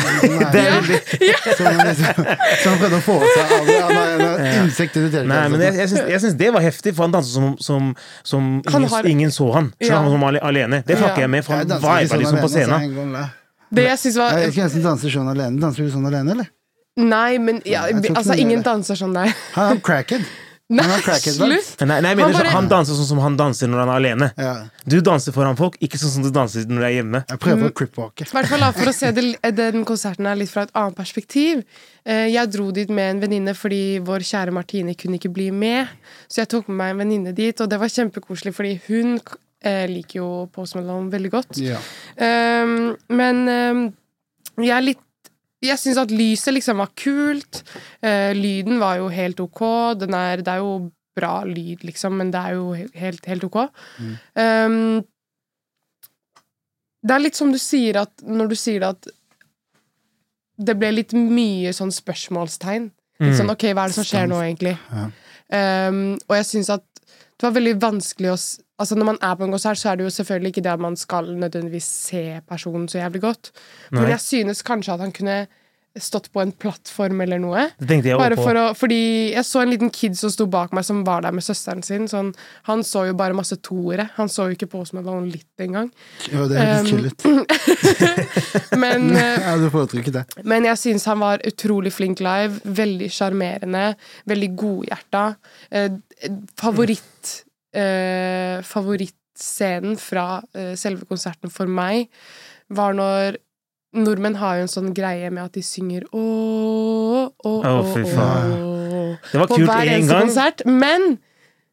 Speaker 2: det er veldig
Speaker 1: som han liksom, som han prøvde å få seg av det. Han har en eller annen insekt under T-skjorte. altså.
Speaker 2: Nei, men jeg, jeg, syns, jeg syns det var heftig, for han danset som, som, som
Speaker 3: Han
Speaker 2: ingen,
Speaker 3: har-
Speaker 2: ingen så han. Så
Speaker 3: Ja.
Speaker 2: han var som ale- alene. Det fucker
Speaker 3: Ja.
Speaker 2: jeg med, for
Speaker 1: Jeg
Speaker 2: han
Speaker 1: danser ikke
Speaker 2: viba
Speaker 1: sånn
Speaker 2: liksom
Speaker 1: alene,
Speaker 2: på
Speaker 1: så
Speaker 2: scenen.
Speaker 1: jeg går med.
Speaker 3: Det jeg synes var
Speaker 1: Jeg vet ikke hvem som danser sånn alene. Danser du sånn alene, eller?
Speaker 3: Nei, men ja,
Speaker 1: Nei, jeg tror ikke
Speaker 3: altså,
Speaker 1: noe gjør
Speaker 3: ingen
Speaker 1: det.
Speaker 3: danser som deg.
Speaker 1: Han er cracked. Han var
Speaker 3: Nei,
Speaker 1: crackhead, vel?
Speaker 3: slutt!
Speaker 2: Nei, nei, jeg mener han,
Speaker 3: Han bare-
Speaker 2: han danser sånn som han danser når han er alene.
Speaker 1: Ja.
Speaker 2: Du danser foran folk, ikke sånn som du danser når du er hjemme.
Speaker 1: Jeg
Speaker 3: Mm.
Speaker 1: prøver å cripwalke.
Speaker 3: I hvert fall da, for å se det, eh, den konserten her litt fra et annet perspektiv. Eh, Jeg dro dit med en venninne fordi vår kjære Martine kunne ikke bli med. Så jeg tok med meg en venninne dit, og det var kjempekoselig fordi hun eh, liker jo Post Malone veldig godt.
Speaker 1: Ja.
Speaker 3: Ehm, men ehm, jeg er litt jeg syns at lyset liksom var kult. Eh, lyden var jo helt ok. Den er, det er jo bra lyd, liksom, men det er jo he- helt, helt ok. Ehm, det er litt som du sier at Når du sier det at det ble litt mye sånn spørsmålstegn. Litt sånn OK, hva er det som skjer nå, egentlig? Ehm, og jeg syns at det var veldig vanskelig å s- Altså Når man er på en konsert, så er det jo selvfølgelig ikke det at man skal nødvendigvis se personen så jævlig godt. Men
Speaker 2: Nei.
Speaker 3: jeg synes kanskje at han kunne stått på en plattform eller noe.
Speaker 2: Det tenkte jeg
Speaker 3: Bare
Speaker 2: også på.
Speaker 3: for å, fordi jeg så en liten kid som sto bak meg, som var der med søsteren sin. Sånn, han så jo bare masse toere. Han så jo ikke på som Malone litt engang.
Speaker 1: Ja, det er litt
Speaker 3: Um,
Speaker 1: chillet.
Speaker 3: Men, eh,
Speaker 1: Ja, du foretrykker det.
Speaker 3: men jeg syns han var utrolig flink live. Veldig sjarmerende. Veldig godhjerta. Eh, favoritt eh, Favorittscenen fra eh, selve konserten for meg var når Nordmenn har jo en sånn greie med at de synger ååå, ååå,
Speaker 2: Å, fy faen.
Speaker 3: ååå
Speaker 2: Det var
Speaker 3: på
Speaker 2: kult
Speaker 3: hver
Speaker 2: én
Speaker 3: eneste
Speaker 2: gang.
Speaker 3: konsert. Men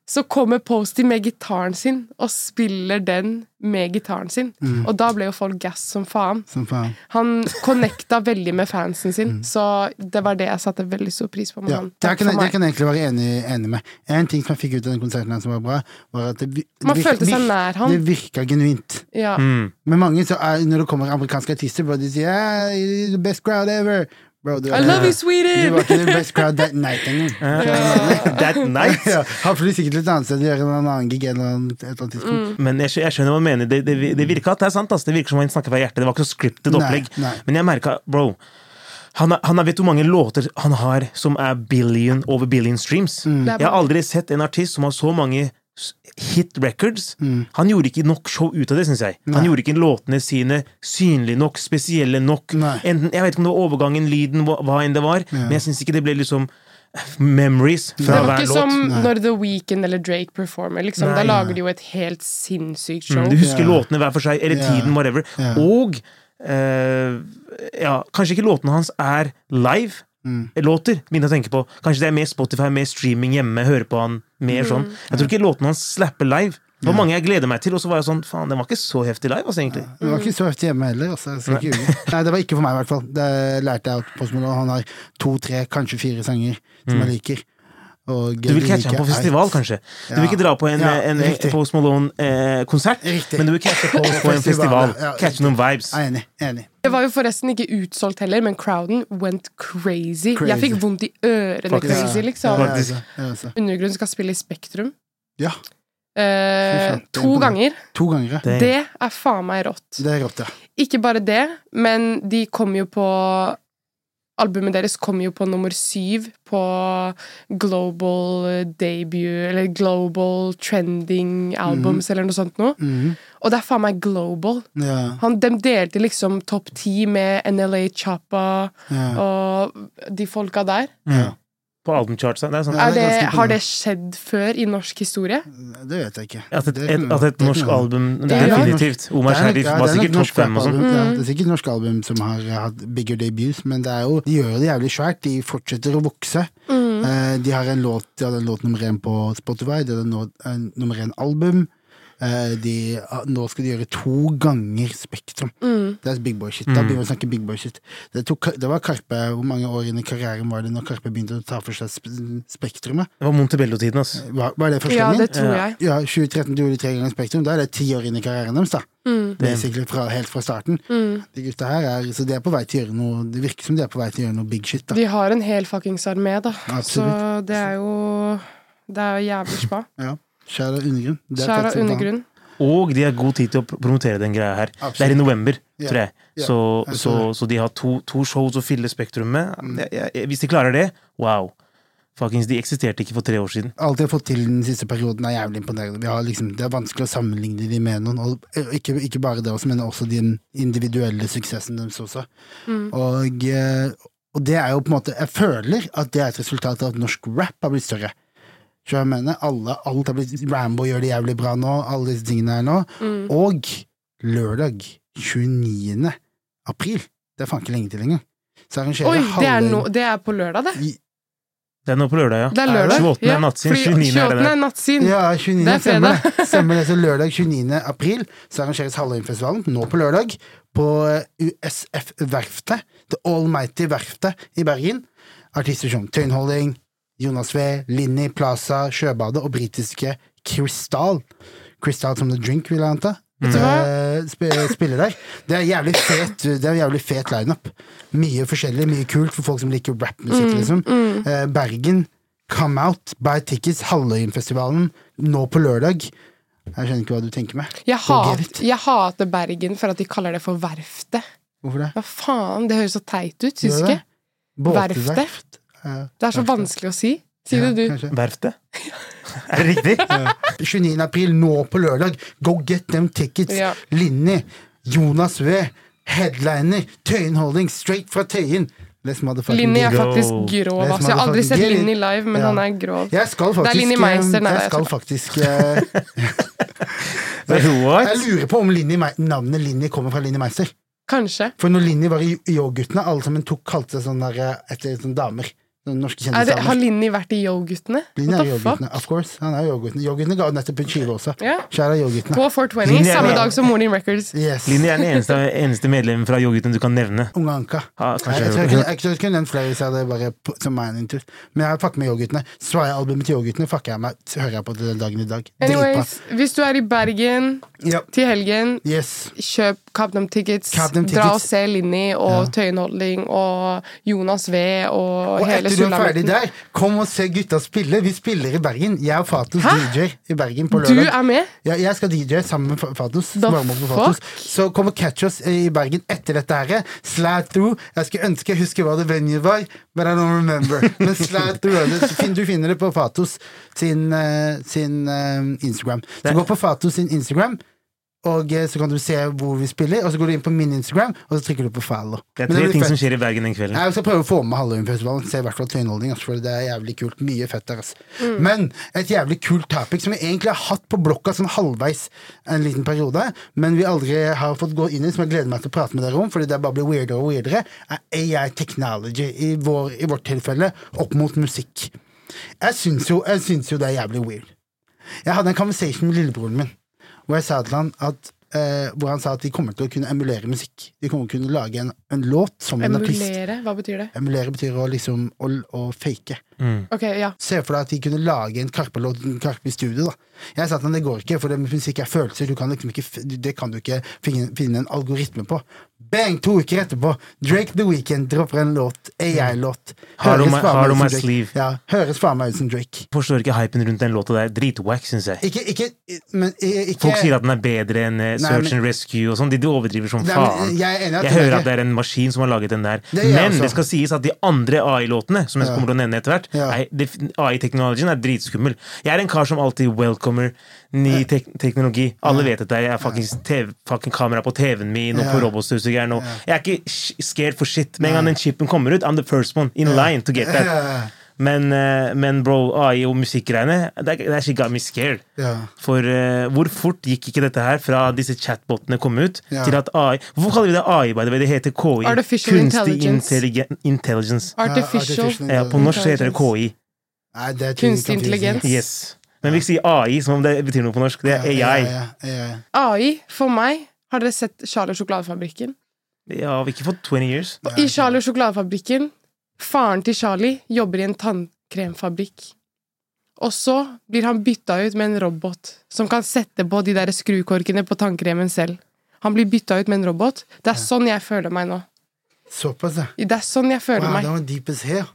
Speaker 3: så kommer Posty med gitaren sin og spiller den med gitaren sin.
Speaker 2: Mm.
Speaker 3: Og da ble jo folk gass som faen.
Speaker 1: Som faen.
Speaker 3: Han connecta veldig med fansen sin, så det var det jeg satte veldig stor pris på med
Speaker 1: Mm. Ja, det
Speaker 3: han. Sånn. Takk
Speaker 1: kan, jeg,
Speaker 3: for
Speaker 1: det
Speaker 3: meg.
Speaker 1: kan jeg egentlig være enig, enig med. En ting som jeg fikk ut av den konserten her som var bra, var at det, vi- det
Speaker 3: Man
Speaker 1: vir-
Speaker 3: følte seg
Speaker 1: vir-
Speaker 3: nær han.
Speaker 1: Det virka genuint.
Speaker 3: Ja.
Speaker 2: Mm.
Speaker 1: Men mange så er, når det kommer amerikanske artister, bro, de sier yeah, you're the best crowd ever. Bro, du,
Speaker 3: I love you,
Speaker 1: du
Speaker 3: Sweden!
Speaker 1: var ikke the best crowd that night engang.
Speaker 2: Eh, That night.
Speaker 1: Ja, han flyr sikkert til et annet sted og gjør en annen gig en eller annen, et eller annet tidspunkt.
Speaker 3: Mm.
Speaker 2: Men jeg, skjø- jeg skjønner hva du mener. Det, det, det virker at det er sant. ass. Det virker som han snakker fra hjertet. Det var ikke så scriptet
Speaker 1: Nei,
Speaker 2: opplegg.
Speaker 1: nei.
Speaker 2: Men jeg merka, bro han, har- han har- Vet du hvor mange låter han har som er billion over billion streams?
Speaker 1: Mm.
Speaker 3: Det er
Speaker 2: Jeg har
Speaker 3: bra.
Speaker 2: aldri sett en artist som har så mange s- hit records.
Speaker 1: Mm.
Speaker 2: Han gjorde ikke nok show ut av det, syns jeg. Han gjorde ikke låtene sine synlige nok, spesielle nok.
Speaker 1: Nei.
Speaker 2: Enten, jeg vet ikke om det var overgangen, lyden, hva, hva enn det var, men jeg syns ikke det ble liksom memories
Speaker 3: Det
Speaker 2: fra
Speaker 3: var
Speaker 2: hver
Speaker 3: ikke
Speaker 2: låt.
Speaker 3: som når The Weeknd eller Drake performer. Liksom.
Speaker 2: Nei.
Speaker 3: Da lager de jo et helt sinnssykt show.
Speaker 2: Mm, du husker
Speaker 1: Ja.
Speaker 2: låtene hver for seg, eller
Speaker 1: Ja.
Speaker 2: tiden, whatever.
Speaker 1: Ja.
Speaker 2: Og eh, ja, kanskje ikke låtene hans er live.
Speaker 1: Mm.
Speaker 2: Låter, begynner jeg å tenke på. Kanskje det er mer Spotify, mer streaming hjemme. Høre på han mer sånn. Jeg tror ikke låtene hans slapper live. Det var mange jeg gleder meg til, og så var jeg sånn faen, den var ikke så heftig live, altså, egentlig.
Speaker 1: Det var ikke så heftig hjemme heller. Altså. Jeg skal ikke ljuge. Nei, det var ikke for meg, i hvert fall. Det lærte jeg at Post Malone han har to, tre, kanskje fire sanger som jeg liker. Og
Speaker 2: Mm. Du vil
Speaker 1: det
Speaker 2: catche
Speaker 1: liker
Speaker 2: ham på
Speaker 1: jeg.
Speaker 2: festival, kanskje. Du vil
Speaker 1: Ja.
Speaker 2: ikke dra på en,
Speaker 1: Ja,
Speaker 2: en
Speaker 1: riktig.
Speaker 2: Post Malone-konsert,
Speaker 1: Riktig.
Speaker 2: men du vil catche på, på en
Speaker 1: Festival,
Speaker 2: festival.
Speaker 1: ja,
Speaker 2: Catche noen vibes.
Speaker 1: Jeg er enig. enig.
Speaker 3: Det var jo forresten ikke utsolgt heller, men crowden went crazy. Jeg fikk
Speaker 1: Crazy.
Speaker 3: vondt i ørene
Speaker 2: Faktisk.
Speaker 3: crazy, liksom.
Speaker 1: Ja,
Speaker 2: Faktisk.
Speaker 1: ja, altså.
Speaker 3: Undergrunn skal spille i Spektrum.
Speaker 1: ja,
Speaker 3: Eh,
Speaker 1: faen, det er
Speaker 3: to
Speaker 1: imponerende.
Speaker 3: ganger.
Speaker 1: to ganger. ja.
Speaker 2: Det-
Speaker 3: Det er faen meg rått.
Speaker 1: Det er rått, ja.
Speaker 3: Ikke bare det, men de kom jo på Albumet deres kom jo på nummer syv på Global Debut Eller Global Trending Albums, eller noe sånt noe.
Speaker 1: Mhm.
Speaker 3: Og det er faen meg global.
Speaker 1: ja.
Speaker 3: Han, de delte liksom topp ti med NLA Chapa
Speaker 1: Ja.
Speaker 3: og de folka der.
Speaker 1: Ja.
Speaker 2: Mm. På albumchartsa. Det er sånn.
Speaker 1: Ja, det
Speaker 3: Er
Speaker 1: er
Speaker 3: det,
Speaker 1: ganske imponerende.
Speaker 3: har det skjedd før i norsk historie?
Speaker 1: Det vet jeg ikke.
Speaker 2: At et,
Speaker 1: Det
Speaker 2: et,
Speaker 1: kunne
Speaker 2: at
Speaker 1: vært-
Speaker 2: et
Speaker 1: det
Speaker 2: norsk
Speaker 1: kunne vært-
Speaker 2: album
Speaker 3: Det er
Speaker 2: Definitivt.
Speaker 1: Det er
Speaker 2: Omar
Speaker 1: nok-
Speaker 2: Sharif
Speaker 1: ja, det
Speaker 2: var
Speaker 1: er nok
Speaker 2: sikkert
Speaker 1: norsk
Speaker 2: topp fem og sånn.
Speaker 1: rapalbum, ja.
Speaker 3: Mm.
Speaker 1: Det er sikkert norsk album som har hatt bigger debuts, men det er jo, de gjør jo det jævlig svært. De fortsetter å vokse.
Speaker 3: Mm.
Speaker 1: Eh, de har en låt De hadde en låt nummer én på Spotify, de hadde nå, en eh, nummer én album. Eh, de, nå skal de gjøre to ganger Spektrum.
Speaker 3: Mm.
Speaker 1: Det er big boy shit.
Speaker 2: Mm.
Speaker 1: Da begynner vi å snakke big boy shit. Det, tok, det var Karpe Hvor mange år inn i karrieren var det når Karpe begynte å ta for seg sp Spektrumet?
Speaker 2: Det var Montebello-tiden, altså. ass.
Speaker 1: Var, var det første
Speaker 3: Ja,
Speaker 1: gangen?
Speaker 3: det tror jeg.
Speaker 1: Ja, 2013 gjorde de tre ganger Spektrum. Da er det ti år inn i karrieren deres, da.
Speaker 3: Mm.
Speaker 1: Basically fra, helt fra starten. De gutta her er, så de er på vei til å gjøre noe Det virker som de er på vei til å gjøre noe big shit, da.
Speaker 3: De har en hel fuckings armé, da. Så
Speaker 1: Absolutt.
Speaker 3: det er jo Det er jo jævlig spa.
Speaker 1: Ja. Skjær av undergrunn. Det er
Speaker 3: Skjær av
Speaker 1: faktisk en plan.
Speaker 3: undergrunn.
Speaker 2: Og de har god tid til å pr- promotere den greia her.
Speaker 1: Absolutt.
Speaker 2: Det er i november,
Speaker 1: Ja,
Speaker 2: tror jeg.
Speaker 1: ja,
Speaker 2: Så,
Speaker 1: jeg Mm.
Speaker 2: så,
Speaker 1: tror
Speaker 2: så de har to, to shows å fylle Spektrum med. Jeg- jeg- jeg- Hvis de klarer det, wow. Fuckings, de eksisterte ikke for tre år siden.
Speaker 1: Alt de har fått til den siste perioden, er jævlig imponerende. Vi har liksom, det er vanskelig å sammenligne de med noen. Og eh, ikke, ikke bare det også, men også den individuelle suksessen deres også.
Speaker 3: Mm.
Speaker 1: Og, eh, og det er jo på en måte Jeg føler at det er et resultat av at norsk rap har blitt større. Så jeg mener, alle, alt er blitt, Rambo gjør det jævlig bra nå, alle disse tingene her nå.
Speaker 3: Mm.
Speaker 1: Og lørdag 29. april, det er faen ikke lenge til engang, så arrangerer
Speaker 3: Oi, det er,
Speaker 1: halve-
Speaker 3: no, det er på lørdag, det.
Speaker 1: I-
Speaker 2: Det er nå på lørdag, ja.
Speaker 3: Det er lørdag.
Speaker 2: 28.
Speaker 3: ja.
Speaker 2: er nattsyn,
Speaker 3: Fordi
Speaker 2: 29. er det
Speaker 3: 28.
Speaker 2: der.
Speaker 3: er nattsyn.
Speaker 1: Ja, 29.
Speaker 3: Det er fredag.
Speaker 1: Stemmer det. Stemmer det. Så lørdag 29. april så arrangeres Halloweenfestivalen, nå på lørdag, på eh, USF-verftet. The Almighty Verftet i Bergen. Artister som Tøyenholding, Jonas V, Linni, Plaza, Sjøbadet og britiske Krystall. Krystall som The Drink, vil jeg anta. Eh,
Speaker 3: Mm.
Speaker 1: sp- Spiller der. Det er jævlig fet, det er jævlig fet lineup. Mye forskjellig, mye kult for folk som liker rappmusikk,
Speaker 3: Mm,
Speaker 1: liksom. Eh, Bergen, Come Out, Buy Tickets, Halløyenfestivalen, nå på lørdag. Jeg skjønner ikke hva du tenker med.
Speaker 3: Jeg,
Speaker 1: Go get
Speaker 3: hat,
Speaker 1: it.
Speaker 3: jeg hater Bergen for at de kaller det for Verftet.
Speaker 1: Hvorfor det?
Speaker 3: Hva faen, det høres så teit ut, syns
Speaker 1: Gjør
Speaker 3: du
Speaker 1: det?
Speaker 3: ikke?
Speaker 1: Båteverft.
Speaker 3: Verftet?
Speaker 1: Eh,
Speaker 3: Det er så vanskelig å si. Si det,
Speaker 1: ja,
Speaker 3: du.
Speaker 1: kanskje.
Speaker 2: Verftet? Er det riktig?
Speaker 1: 29. april, nå på lørdag. Go get them tickets.
Speaker 3: Ja.
Speaker 1: Linni, Jonas V, headliner, Tøyen Holding, straight fra Tøyen. Let's motherfucking
Speaker 3: Linni
Speaker 1: get
Speaker 3: er
Speaker 1: it.
Speaker 3: faktisk
Speaker 2: Go.
Speaker 3: grov.
Speaker 1: Les
Speaker 3: Altså, jeg har aldri
Speaker 1: motherfucking
Speaker 3: sett
Speaker 1: get it.
Speaker 3: Linni live, men
Speaker 1: Ja.
Speaker 3: han er grov.
Speaker 1: Jeg skal
Speaker 3: er
Speaker 1: faktisk
Speaker 3: Linni
Speaker 1: eh,
Speaker 3: Meister, nei,
Speaker 1: Jeg
Speaker 3: jeg
Speaker 1: skal
Speaker 3: tuller.
Speaker 1: faktisk eh, Jeg
Speaker 2: What?
Speaker 1: lurer på om Linni, Mei- navnet Linni kommer fra Linni Meister.
Speaker 3: Kanskje.
Speaker 1: For når Linni var i Yo-guttene, alle sammen tok, kalte seg sånn der eh, etter sånne damer. Sånne norske
Speaker 3: Er det, har
Speaker 1: kjendisdamer.
Speaker 3: Linni vært i Yo-guttene?
Speaker 1: Linni
Speaker 3: What
Speaker 1: er
Speaker 3: the fuck?
Speaker 1: Yo-guttene, Ah, of course. Han er Yo-guttene. Yo-guttene ga jo nettopp ut skive også.
Speaker 3: Ja.
Speaker 1: Kjære Yo-guttene.
Speaker 3: På 420,
Speaker 2: Linni er
Speaker 3: samme
Speaker 2: med.
Speaker 3: dag som Morning Records.
Speaker 1: Yes.
Speaker 2: Linni er den eneste, eneste medlemmen fra yoghurten du kan nevne.
Speaker 1: Unge Anka.
Speaker 2: Ja,
Speaker 1: Nei, jeg,
Speaker 2: kanskje
Speaker 1: tror jeg,
Speaker 2: jeg
Speaker 1: kunne,
Speaker 2: hørte.
Speaker 1: jeg, tror jeg kunne nevnt flere hvis jeg hadde bare p- som meg en intus. Men jeg fucker med Yo-guttene. Swaia-albumet til Yo-guttene fucker jeg meg, hører jeg på til dagen i dag. Dritbra.
Speaker 3: Anyways, hvis du er i Bergen
Speaker 1: Ja.
Speaker 3: til helgen,
Speaker 1: Yes.
Speaker 3: kjøp Capnum Tickets.
Speaker 1: Cap Them
Speaker 3: Dra og
Speaker 1: Tickets.
Speaker 3: se Linni og Tøyenholding og Jonas V og,
Speaker 1: Og
Speaker 3: hele
Speaker 1: etter du er ferdig
Speaker 3: sulamitten.
Speaker 1: der, kom og se gutta spille. Vi spiller i Bergen. Jeg og Fatos
Speaker 3: Hæ?
Speaker 1: DJ-er i Bergen på
Speaker 3: Du
Speaker 1: lørdag.
Speaker 3: er med?
Speaker 1: Ja, jeg skal DJ sammen med Fa- Fatos.
Speaker 3: The
Speaker 1: varme opp med Fatos. Så kom og catch oss i Bergen etter dette her. Slide through. Jeg skulle ønske jeg husker hva det venue var, but I don't remember. Men slide through er det. Så fin- Du finner det på Fatos sin, eh, sin eh, Instagram. Så
Speaker 2: Det-
Speaker 1: gå på Fatos sin Instagram. Og eh, så kan du se hvor vi spiller, og så går du inn på min Instagram, og så trykker du på follow.
Speaker 2: Det er
Speaker 1: Men
Speaker 2: tre
Speaker 1: blir
Speaker 2: ting
Speaker 1: fett.
Speaker 2: som skjer i Bergen den kvelden.
Speaker 1: Nei, Jeg skal prøve å få med Halloweenfestivalen. Se i hvert fall Tøyenholding, ass, for det er jævlig kult. Mye fett der, ass. Men et jævlig kult topic som vi egentlig har hatt på blokka sånn halvveis en liten periode, men vi aldri har fått gå inn i, som jeg gleder meg til å prate med dere om, fordi det bare blir weirdere og weirdere, er AI technology, i, vår, i vårt tilfelle, opp mot musikk. Jeg syns jo, jeg syns jo det er jævlig weird. Jeg hadde en conversation med lillebroren min, hvor jeg sa til han at eh, hvor han sa at de kommer til å kunne emulere musikk. De kommer til å kunne lage en, en låt som en artist.
Speaker 3: Emulere? Hva betyr det?
Speaker 1: Emulere betyr å liksom å, å fake.
Speaker 3: Ok, ja.
Speaker 1: Se for deg at de kunne lage en Karpe-låt en Karpe i studio. da. Jeg sa til ham det går ikke, for det med musikk er følelser. Du kan liksom ikke, f- det kan du ikke finne, finne en algoritme på. Bang! To uker etterpå, Drake The Weekend dropper en låt. AI-låt.
Speaker 2: Hard on
Speaker 1: Høres
Speaker 2: my-
Speaker 1: faen meg
Speaker 2: hard
Speaker 1: ut
Speaker 2: on
Speaker 1: som
Speaker 2: my
Speaker 1: Drake.
Speaker 2: sleeve.
Speaker 1: Ja, høres faen meg ut som Drake.
Speaker 2: Forstår ikke hypen rundt den låta der. Dritwack, syns jeg.
Speaker 1: Ikke, ikke, men, i- ikke
Speaker 2: Folk sier at den er bedre enn eh,
Speaker 1: Nei,
Speaker 2: Search
Speaker 1: men-
Speaker 2: and Rescue og sånn. De de overdriver som
Speaker 1: Nei, men,
Speaker 2: faen.
Speaker 1: jeg er enig i at
Speaker 2: Jeg
Speaker 1: det er
Speaker 2: hører
Speaker 1: det.
Speaker 2: at det er en maskin som har laget den der.
Speaker 1: Det gjør jeg
Speaker 2: Men
Speaker 1: også.
Speaker 2: det skal sies at de andre AI-låtene, som jeg kommer til å nevne etter hvert,
Speaker 1: Ja.
Speaker 2: er- det- AI-teknologien er dritskummel. Jeg er en kar som alltid welcomer ny tek teknologi. Alle vet at jeg er fuckings TV fucking kamera på TV-en min og på
Speaker 1: Ja.
Speaker 2: robotstøvsugeren. og Jeg er ikke sh- scared for shit. Med en gang den chipen kommer ut, I'm the first one in line to get
Speaker 1: Ja.
Speaker 2: that. Men, eh, men bro, AI og musikkgreiene, that, that shit got me scared.
Speaker 1: Ja.
Speaker 2: For eh, hvor fort gikk ikke dette her fra disse chatbotene kom ut,
Speaker 1: Ja.
Speaker 2: til at AI Hvorfor kaller vi det AI, by the way? Det heter KI.
Speaker 3: Artificial
Speaker 2: Kunstig
Speaker 3: intelligence.
Speaker 2: intelligen- intelligence.
Speaker 3: Artificial.
Speaker 1: artificial
Speaker 2: Ja, på norsk så heter det KI.
Speaker 3: Intelligence.
Speaker 1: Nei, det er
Speaker 3: Kunstig
Speaker 1: confusing.
Speaker 3: intelligens.
Speaker 2: Yes. Men vi sier AI som om det betyr noe på norsk. Det er
Speaker 1: Ja,
Speaker 2: AI.
Speaker 1: ja, ja, ja.
Speaker 3: AI, for meg Har dere sett Charlie og sjokoladefabrikken?
Speaker 2: Ja, vi har ikke fått 20 years.
Speaker 3: I Charlie og sjokoladefabrikken Faren til Charlie jobber i en tannkremfabrikk. Og så blir han bytta ut med en robot som kan sette på de der skrukorkene på tannkremen selv. Han blir bytta ut med en robot. Det er sånn jeg føler meg nå.
Speaker 1: Såpass, ja.
Speaker 3: Det er sånn jeg føler
Speaker 1: Wow,
Speaker 3: meg.
Speaker 1: det var deep as hell.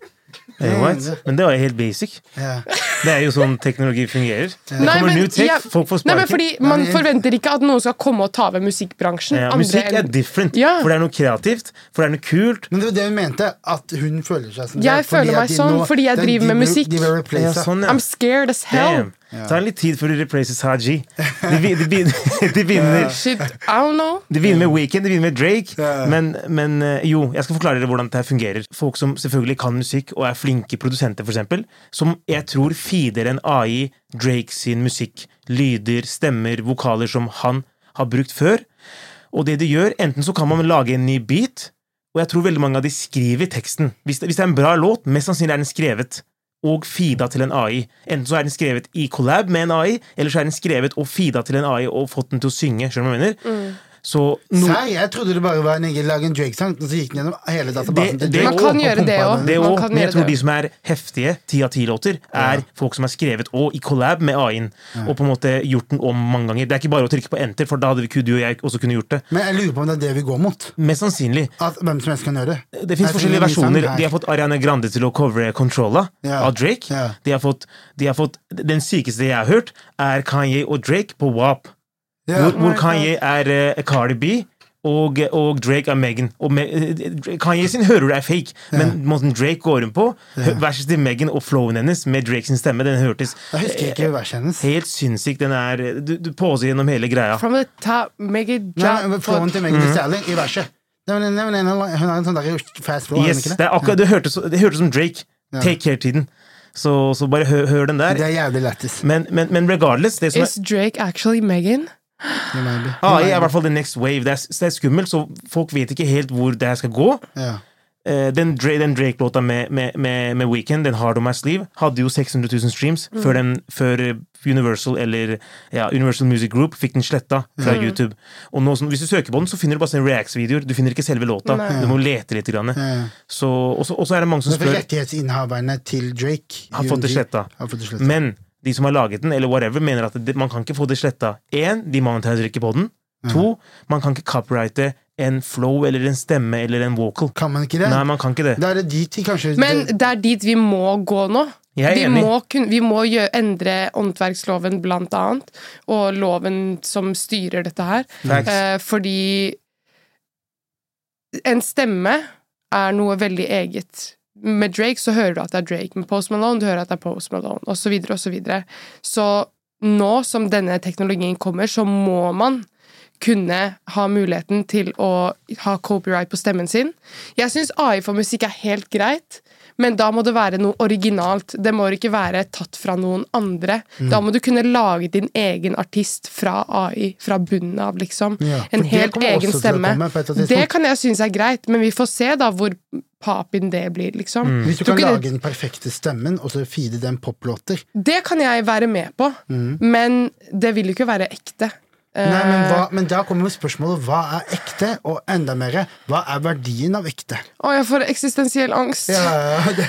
Speaker 2: Eh, what? Men det var jo helt basic.
Speaker 1: Ja.
Speaker 2: Det er jo sånn teknologi fungerer. Det
Speaker 3: Nei,
Speaker 2: kommer
Speaker 3: men
Speaker 2: new tech,
Speaker 3: jeg-
Speaker 2: folk får
Speaker 3: Nei, men
Speaker 2: sparken.
Speaker 3: fordi
Speaker 1: Nei,
Speaker 3: Man
Speaker 1: men jeg-
Speaker 3: forventer ikke at noen skal komme og ta over musikkbransjen.
Speaker 2: Ja,
Speaker 3: andre
Speaker 2: musikk er
Speaker 3: enn-
Speaker 2: different,
Speaker 3: Ja.
Speaker 2: for det er noe kreativt, for det er noe kult.
Speaker 1: Men det var det hun mente, at hun føler seg som
Speaker 3: Jeg
Speaker 1: det, fordi
Speaker 3: føler meg
Speaker 1: at de
Speaker 3: sånn fordi jeg
Speaker 1: den-
Speaker 3: driver
Speaker 1: de
Speaker 3: med
Speaker 1: ble-
Speaker 3: musikk.
Speaker 1: De ble
Speaker 2: Ja,
Speaker 1: replaced.
Speaker 2: sånn, ja.
Speaker 3: I'm scared as hell.
Speaker 2: Damn. Så tar det litt tid før de replaces Haji. De, be- de, begynner- de, begynner,
Speaker 3: Shit, I don't know.
Speaker 2: de begynner med Weekend, de begynner med Drake.
Speaker 1: Ja.
Speaker 2: Men, men eh, jo, jeg skal forklare dere hvordan dette her fungerer. Folk som selvfølgelig kan musikk og er flinke produsenter, for eksempel, som jeg tror feeder en AI Drake sin musikk. Lyder, stemmer, vokaler som han har brukt før. Og det de gjør, enten så kan man lage en ny beat, og jeg tror veldig mange av de skriver teksten. Hvis det, hvis det er en bra låt, mest sannsynlig er den skrevet. Og feeda til en AI. Enten så er den skrevet i collab med en AI, eller så er den skrevet og feeda til en AI og fått den til å synge. Skjønner du hva jeg mener?
Speaker 3: Mm.
Speaker 2: Så no,
Speaker 1: Nei, jeg trodde det bare var en egen lag en Drake-sang, og så gikk den gjennom hele databasen
Speaker 2: Det-
Speaker 1: til
Speaker 2: det-
Speaker 1: Drake.
Speaker 3: Man kan
Speaker 1: og
Speaker 3: gjøre det
Speaker 1: pumpa
Speaker 3: også.
Speaker 1: den.
Speaker 2: det
Speaker 3: Man
Speaker 2: òg,
Speaker 3: kan
Speaker 2: men jeg
Speaker 3: gjøre
Speaker 2: tror
Speaker 3: det.
Speaker 2: de som er heftige ti av ti-låter, er folk som er skrevet og i collab med AI-en. Og på en måte gjort den om mange ganger. Det er ikke bare å trykke på enter, for da hadde vi, du og jeg også kunne gjort det.
Speaker 1: Men jeg lurer på om det er det vi går mot.
Speaker 2: Mest sannsynlig.
Speaker 1: At hvem som helst kan gjøre det.
Speaker 2: Det fins
Speaker 1: Jeg
Speaker 2: forskjellige
Speaker 1: finner en ny
Speaker 2: versjoner.
Speaker 1: sang her.
Speaker 2: De har fått Ariana Grande til å covre Controlla
Speaker 1: Ja.
Speaker 2: av Drake.
Speaker 1: Ja.
Speaker 2: De, har fått, de har fått Den sykeste jeg har hørt, er Kanye og Drake på WAP.
Speaker 1: Ja.
Speaker 2: Hvor, hvor Kanye er eh, Cardi B, og, og Drake er Megan. Og Me eh, Kanye sin hører du er fake, men måten Drake går rundt på, hø- verset til Megan og flowen hennes med Drake sin stemme, den hørtes
Speaker 1: Jeg husker ikke verset hennes.
Speaker 2: helt sinnssykt Den er Du, du poser gjennom hele greia.
Speaker 3: From the top, make it
Speaker 1: Nei,
Speaker 3: drop.
Speaker 1: men Flowen til Megan Thee Stallion i verset. Nei, men- nei, men Hun har hun har en sånn der fast flow, har hun
Speaker 2: Yes,
Speaker 1: ikke
Speaker 2: det, er akkurat, det, hørtes, det hørtes som Drake. Take care-tiden. Så, så bare hør, hør den der.
Speaker 1: Det er jævlig lættis.
Speaker 2: Men, men, men regardless, det som
Speaker 3: Is Drake actually Megan?
Speaker 1: Det må jeg bli.
Speaker 2: er AI er i hvert fall the next wave. Det er, s- det er skummelt, så folk vet ikke helt hvor det her skal gå.
Speaker 1: Ja.
Speaker 2: Eh, Den, Dra- den Drake-låta med, med, med, med Weekend, den Hard On My Sleeve, hadde jo 600 000 streams
Speaker 1: Mm.
Speaker 2: før, den, før eh, Universal eller ja, Universal Music Group fikk den sletta fra
Speaker 1: Mm.
Speaker 2: YouTube. Og nå, som- hvis du søker på den, så finner du bare sånne Reacts-videoer. Du finner ikke selve låta. Du må lete litt. Grann. Så, og, så, og så er det mange som
Speaker 1: Men for
Speaker 2: spør
Speaker 1: rettighetsinnehaverne til Drake
Speaker 2: Har fått det
Speaker 1: UMG,
Speaker 2: sletta.
Speaker 1: har fått det sletta.
Speaker 2: Men de som har laget den, eller whatever, mener at det, man kan ikke få det sletta. Én, de monetizer ikke på den. To, man kan ikke copyrighte en flow eller en stemme eller en vocal.
Speaker 1: Kan man ikke det?
Speaker 2: Nei, man kan ikke det.
Speaker 1: Da er det dit de kanskje
Speaker 3: Men det er dit vi må gå nå.
Speaker 2: Jeg er
Speaker 3: vi,
Speaker 2: enig.
Speaker 3: Må kun, vi må gjø- endre åndsverksloven, blant annet, og loven som styrer dette her.
Speaker 2: Facts.
Speaker 3: Eh, fordi en stemme er noe veldig eget. Med Drake så hører du at det er Drake, med Post Malone du hører at det er Post Malone, osv. Så, videre, og så, videre. så nå som denne teknologien kommer, så må man kunne ha muligheten til å ha copyright på stemmen sin. Jeg syns AI for musikk er helt greit, men da må det være noe originalt. Det må ikke være tatt fra noen andre.
Speaker 1: Mm.
Speaker 3: Da må du kunne lage din egen artist fra AI, fra bunnen av, liksom.
Speaker 1: Ja, for
Speaker 3: en
Speaker 1: det
Speaker 3: helt
Speaker 1: kommer også
Speaker 3: egen
Speaker 1: til å
Speaker 3: stemme.
Speaker 1: komme på et eller annet
Speaker 3: Det
Speaker 1: tidspunkt.
Speaker 3: kan jeg synes er greit, men vi får se da hvor papin det blir, liksom.
Speaker 1: Mm. Hvis du
Speaker 3: Tror
Speaker 1: kan
Speaker 3: ikke
Speaker 1: lage den perfekte stemmen, og så feede den poplåter
Speaker 3: Det kan jeg være med på,
Speaker 1: Mm.
Speaker 3: men det vil jo ikke være ekte. Eh.
Speaker 1: Nei, men, hva, men da kommer jo spørsmålet hva er ekte, og enda mer hva er verdien av ekte?
Speaker 3: Å, jeg får eksistensiell angst.
Speaker 1: Ja, det,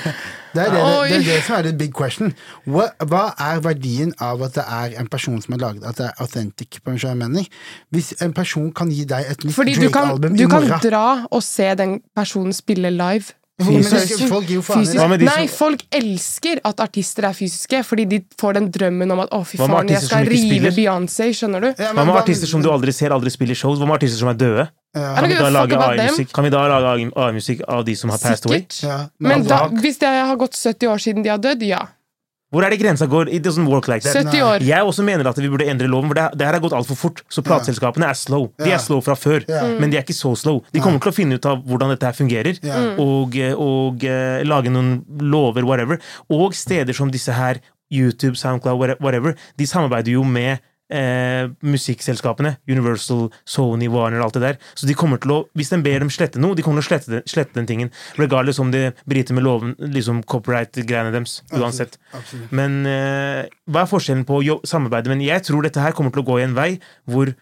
Speaker 1: det, er det,
Speaker 3: Oi.
Speaker 1: det er det som er the big question. Hva, hva er verdien av at det er en person som er laget, at det er authentic? på en skjønn mening? Hvis en person kan gi deg et nytt
Speaker 3: Fordi du kan,
Speaker 1: Drake-album
Speaker 3: du
Speaker 1: i
Speaker 3: kan
Speaker 1: morgen
Speaker 3: dra og se den personen spille live.
Speaker 1: men det-
Speaker 3: Fysisk.
Speaker 1: folk gir jo faen i det.
Speaker 3: Fysisk.
Speaker 2: Hva med de som-
Speaker 3: Nei, folk elsker at artister er fysiske, fordi de får den drømmen om at 'å, fy
Speaker 2: Hva med
Speaker 3: faen, jeg
Speaker 2: artister som
Speaker 3: skal
Speaker 2: ikke
Speaker 3: rive
Speaker 2: spiller?
Speaker 3: Beyoncé', skjønner du?
Speaker 1: Ja, men
Speaker 2: Hva med artister som du aldri ser, aldri spiller shows? Hva med artister som er døde?
Speaker 3: I don't
Speaker 2: Kan vi
Speaker 3: give
Speaker 2: da
Speaker 3: a fuck
Speaker 2: lage
Speaker 3: about them.
Speaker 2: AI-musikk Kan vi da lage AI-musikk av de som har passed away?
Speaker 3: Sikkert.
Speaker 1: Ja, men
Speaker 3: Men da,
Speaker 1: altså-
Speaker 3: hvis det har gått 70 år siden de har dødd, ja.
Speaker 2: Hvor er det grensa går? It doesn't work like that.
Speaker 3: 70 år.
Speaker 2: Jeg også mener at vi burde endre loven, for det, det her har gått altfor fort. Så plateselskapene er slow. De
Speaker 1: Ja.
Speaker 2: er slow fra før,
Speaker 1: Ja.
Speaker 2: men de er ikke så slow. De kommer til å finne ut av hvordan dette her fungerer,
Speaker 1: Ja.
Speaker 2: og, og eh, lage noen lover, whatever. Og steder som disse her, YouTube, SoundCloud, whate- whatever, de samarbeider jo med Eh, musikkselskapene, Universal, Sony, Warner og alt det der. Så de kommer til å, hvis de ber dem slette noe, de kommer til å slette, den- slette den tingen. Regardless om det bryter med loven, liksom copyright-greiene deres. Uansett.
Speaker 1: Absolutt.
Speaker 2: Men eh, hva er forskjellen på å jo- samarbeide? Men jeg tror dette her kommer til å gå i en vei hvor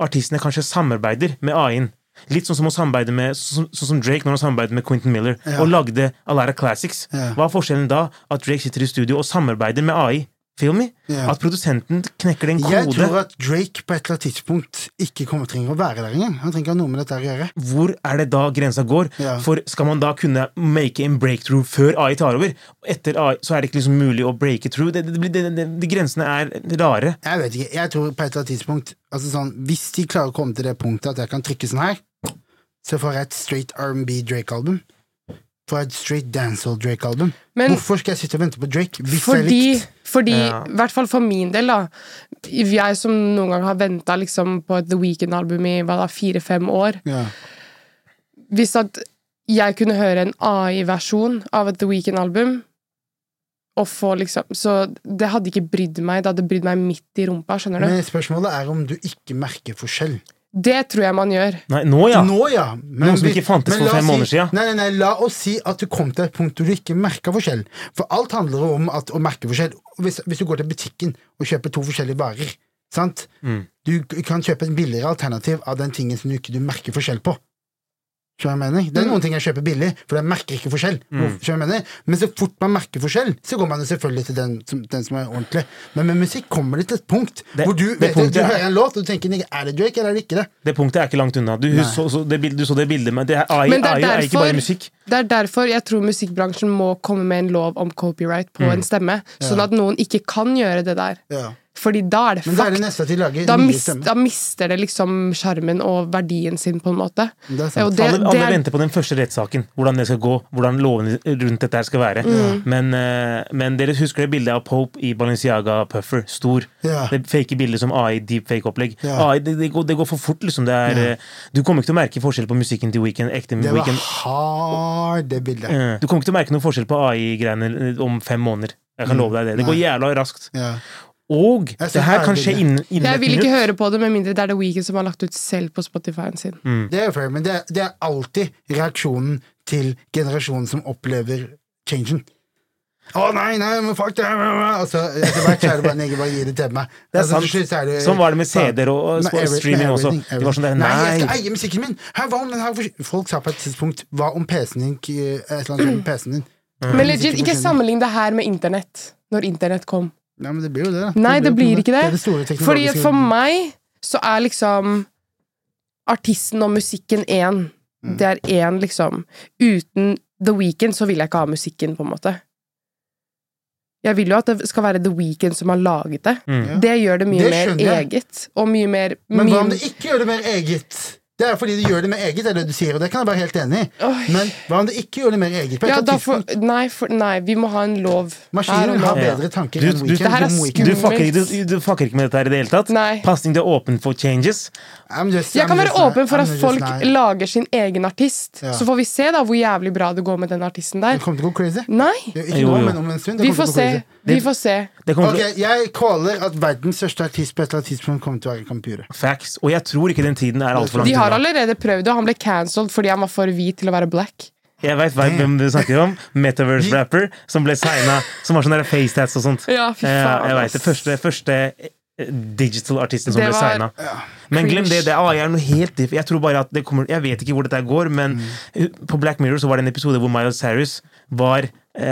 Speaker 2: artistene kanskje samarbeider med AI-en. Litt sånn som å samarbeide med Sånn sånn som Drake når han samarbeidet med Quentin Miller og lagde Alara Classics.
Speaker 1: Ja.
Speaker 2: Hva er forskjellen da? At Drake sitter i studio og samarbeider med AI. Feel me?
Speaker 1: Ja.
Speaker 2: At produsenten knekker den
Speaker 1: Jeg
Speaker 2: kode.
Speaker 1: tror at Drake på et eller annet tidspunkt ikke kommer trenger å være der engang. Han trenger ikke ha noe med dette her å gjøre.
Speaker 2: Hvor er det da grensa går?
Speaker 1: Ja.
Speaker 2: For skal man da kunne make en breakthrough før AI tar over? Etter AI så er det ikke liksom mulig å breake through. Det, det, blir- det, det, de grensene er rare.
Speaker 1: Jeg vet ikke, jeg tror på et eller annet tidspunkt altså sånn, Hvis de klarer å komme til det punktet at jeg kan trykke sånn her, så får jeg et straight R&B Drake-album. fra et straight dancehall-Drake-album.
Speaker 3: Men
Speaker 1: Hvorfor skal jeg sitte og vente på Drake hvis det er
Speaker 3: fordi,
Speaker 1: likt?
Speaker 3: fordi
Speaker 2: Ja.
Speaker 3: i hvert fall for min del, da Jeg som noen gang har venta liksom, på et The Weekend-album i hva da, fire-fem år
Speaker 1: Ja.
Speaker 3: Hvis at jeg kunne høre en AI-versjon av et The Weekend-album og få liksom, Så det hadde ikke brydd meg. Det hadde brydd meg midt i rumpa. skjønner du?
Speaker 1: Men spørsmålet er om du ikke merker forskjell.
Speaker 3: Det tror jeg man gjør.
Speaker 2: Nei, nå ja!
Speaker 1: Nå, ja. Men,
Speaker 2: Noe som
Speaker 1: vi-
Speaker 2: ikke fantes
Speaker 1: men
Speaker 2: for
Speaker 1: la
Speaker 2: fem
Speaker 1: oss
Speaker 2: måneder
Speaker 1: si,
Speaker 2: siden.
Speaker 1: Nei, nei, nei, la oss si at du kom til et punkt hvor du ikke merka forskjell. For alt handler om at, å merke forskjell. Hvis, hvis du går til butikken og kjøper to forskjellige varer, sant?
Speaker 2: Mm.
Speaker 1: du k- kan kjøpe et billigere alternativ av den tingen som du ikke du merker forskjell på. Skjønner du hva jeg mener? Det
Speaker 2: Mm.
Speaker 1: er noen ting jeg kjøper billig, for jeg merker ikke forskjell. Skjønner du hva jeg mener? Men så fort man merker forskjell, så går man jo selvfølgelig til den som, den som er ordentlig. Men med musikk kommer det til et punkt
Speaker 2: Det-
Speaker 1: hvor du,
Speaker 2: det
Speaker 1: vet, du,
Speaker 2: punktet
Speaker 1: du
Speaker 2: er-
Speaker 1: hører en låt og du tenker er det Drake eller er det ikke det?
Speaker 2: Det punktet er ikke langt unna. Du, så, så det, bild- du så det bildet med det er AI,
Speaker 3: Men det er,
Speaker 2: AI er ikke
Speaker 3: derfor,
Speaker 2: bare musikk.
Speaker 3: det er derfor jeg tror musikkbransjen må komme med en lov om copyright på en stemme, sånn at noen ikke kan gjøre det der.
Speaker 1: Ja.
Speaker 3: Fordi da er det
Speaker 1: Men da er
Speaker 3: fucked.
Speaker 1: det nesten at de lager
Speaker 3: Da,
Speaker 1: nye
Speaker 3: mis,
Speaker 1: stemmer.
Speaker 3: da mister det liksom sjarmen og verdien sin, på en måte.
Speaker 1: Det er sant.
Speaker 3: Og det,
Speaker 2: alle
Speaker 3: det
Speaker 2: alle
Speaker 3: er,
Speaker 2: venter på den første rettssaken. Hvordan det skal gå. Hvordan lovene rundt dette her skal være.
Speaker 1: Mm.
Speaker 2: Men, eh, men dere husker det bildet av Pope i Balenciaga Puffer. Stor.
Speaker 1: Ja.
Speaker 2: Det fake bildet som AI deepfake-opplegg.
Speaker 1: Ja.
Speaker 2: AI, det, det, går, det går for fort, liksom. Det er, eh, Du kommer ikke til å merke forskjell på musikken til Weekend. Ekte
Speaker 1: Det var
Speaker 2: Weekend.
Speaker 1: hard, det bildet.
Speaker 2: Eh, Du kommer ikke til å merke noen forskjell på AI-greiene om fem måneder. Jeg kan love deg det. Det går jævla raskt.
Speaker 1: Mm. Ja.
Speaker 2: Og
Speaker 1: Jeg ser
Speaker 2: det her
Speaker 1: her
Speaker 2: kan skje
Speaker 1: bildet.
Speaker 2: innen, innen
Speaker 3: jeg
Speaker 2: et
Speaker 3: vil ikke
Speaker 2: minutt.
Speaker 3: høre på det, med mindre det er The Weeknd som har lagt ut selv på Spotify-en sin.
Speaker 2: Mm.
Speaker 1: Det er jo fair, men det er, det er alltid reaksjonen til generasjonen som opplever changen. Å nei, nei, men fuck det! Altså, etter hvert så er det bare neger, bare gi det til meg.
Speaker 2: Det er
Speaker 1: altså,
Speaker 2: sant.
Speaker 1: til slutt så er
Speaker 2: Sånn var det med CD-er og- og
Speaker 1: Med every- med
Speaker 2: streaming også.
Speaker 1: everything,
Speaker 2: Det var sånn der,
Speaker 1: everything. Nei, jeg
Speaker 2: nei.
Speaker 1: skal eie musikken min! Her, hva om den her forsvin- Folk sa på et tidspunkt Hva om PC-en din k- Et eller annet om PC-en din.
Speaker 3: Men legit, ikke
Speaker 1: Musikken forsvinner.
Speaker 3: sammenlign det her med internett. Når internett kom.
Speaker 1: Nei, men det blir jo det. da.
Speaker 3: Nei, det blir ikke
Speaker 1: Det er det store
Speaker 3: det. Fordi
Speaker 1: teknologiske-
Speaker 3: for meg så er liksom artisten og musikken én.
Speaker 1: Mm.
Speaker 3: Det er én, liksom. Uten The Weeknd så vil jeg ikke ha musikken, på en måte. Jeg vil jo at det skal være The Weeknd som har laget det.
Speaker 1: Ja.
Speaker 3: Det gjør det mye
Speaker 1: Mm. Det
Speaker 3: mer
Speaker 1: skjønner jeg.
Speaker 3: eget, og mye mer
Speaker 1: Men hva om
Speaker 3: min-
Speaker 1: du ikke gjør det mer eget? Det er fordi du gjør det mer eget, er det du sier, og det kan jeg være helt enig i.
Speaker 3: Oi.
Speaker 1: Men hva om du ikke gjør det mer eget? På et
Speaker 3: ja,
Speaker 1: eller
Speaker 3: da
Speaker 1: annet
Speaker 3: får,
Speaker 1: tidspunkt,
Speaker 3: nei, for, nei, vi må ha en lov. her og
Speaker 1: Maskinen
Speaker 3: nå.
Speaker 1: har
Speaker 2: Ja.
Speaker 1: bedre tanker
Speaker 2: Du-
Speaker 1: enn
Speaker 2: du-
Speaker 1: Weekend.
Speaker 3: Det her er
Speaker 2: Du
Speaker 3: skummelt.
Speaker 2: fucker, ikke, du, du fucker ikke med dette her i det hele tatt?
Speaker 3: Nei.
Speaker 2: Pasning, du er åpen for changes.
Speaker 3: Jeg kan
Speaker 1: uh,
Speaker 3: være åpen for at folk lager sin egen artist.
Speaker 1: Ja.
Speaker 3: Så får vi se da hvor jævlig bra det går med den artisten der.
Speaker 1: Det kommer til å gå crazy.
Speaker 3: Nei!
Speaker 1: Jo, Ikke
Speaker 2: Jo,
Speaker 1: nå,
Speaker 2: jo.
Speaker 1: men om en stund. det
Speaker 3: Vi
Speaker 1: kommer til å
Speaker 3: får se.
Speaker 1: gå crazy.
Speaker 3: Vi får se.
Speaker 2: Det kommer
Speaker 1: Ok,
Speaker 2: til
Speaker 1: Jeg caller at verdens største artist på et eller annet tidspunkt kommer til å være Kampure.
Speaker 2: å- facts. Og jeg tror ikke den tiden er altfor langt
Speaker 3: De har
Speaker 2: unna.
Speaker 3: allerede prøvd, og han ble cancelled fordi han var for hvit til å være black.
Speaker 2: Jeg veit hvem du snakker om. Metaverse-rapper som ble signa. Som har sånne facetats og sånt. Eh,
Speaker 3: Ja, fy faen,
Speaker 2: jeg vet
Speaker 3: ass.
Speaker 2: det. Første, første eh, digital-artisten som
Speaker 3: Det
Speaker 2: ble
Speaker 3: var-
Speaker 2: signa. Men glem det. det AI er noe helt diff. Jeg tror bare at det kommer Jeg vet ikke hvor dette her går, men
Speaker 1: Mm.
Speaker 2: på Black Mirror så var det en episode hvor Miles Cyrus var eh,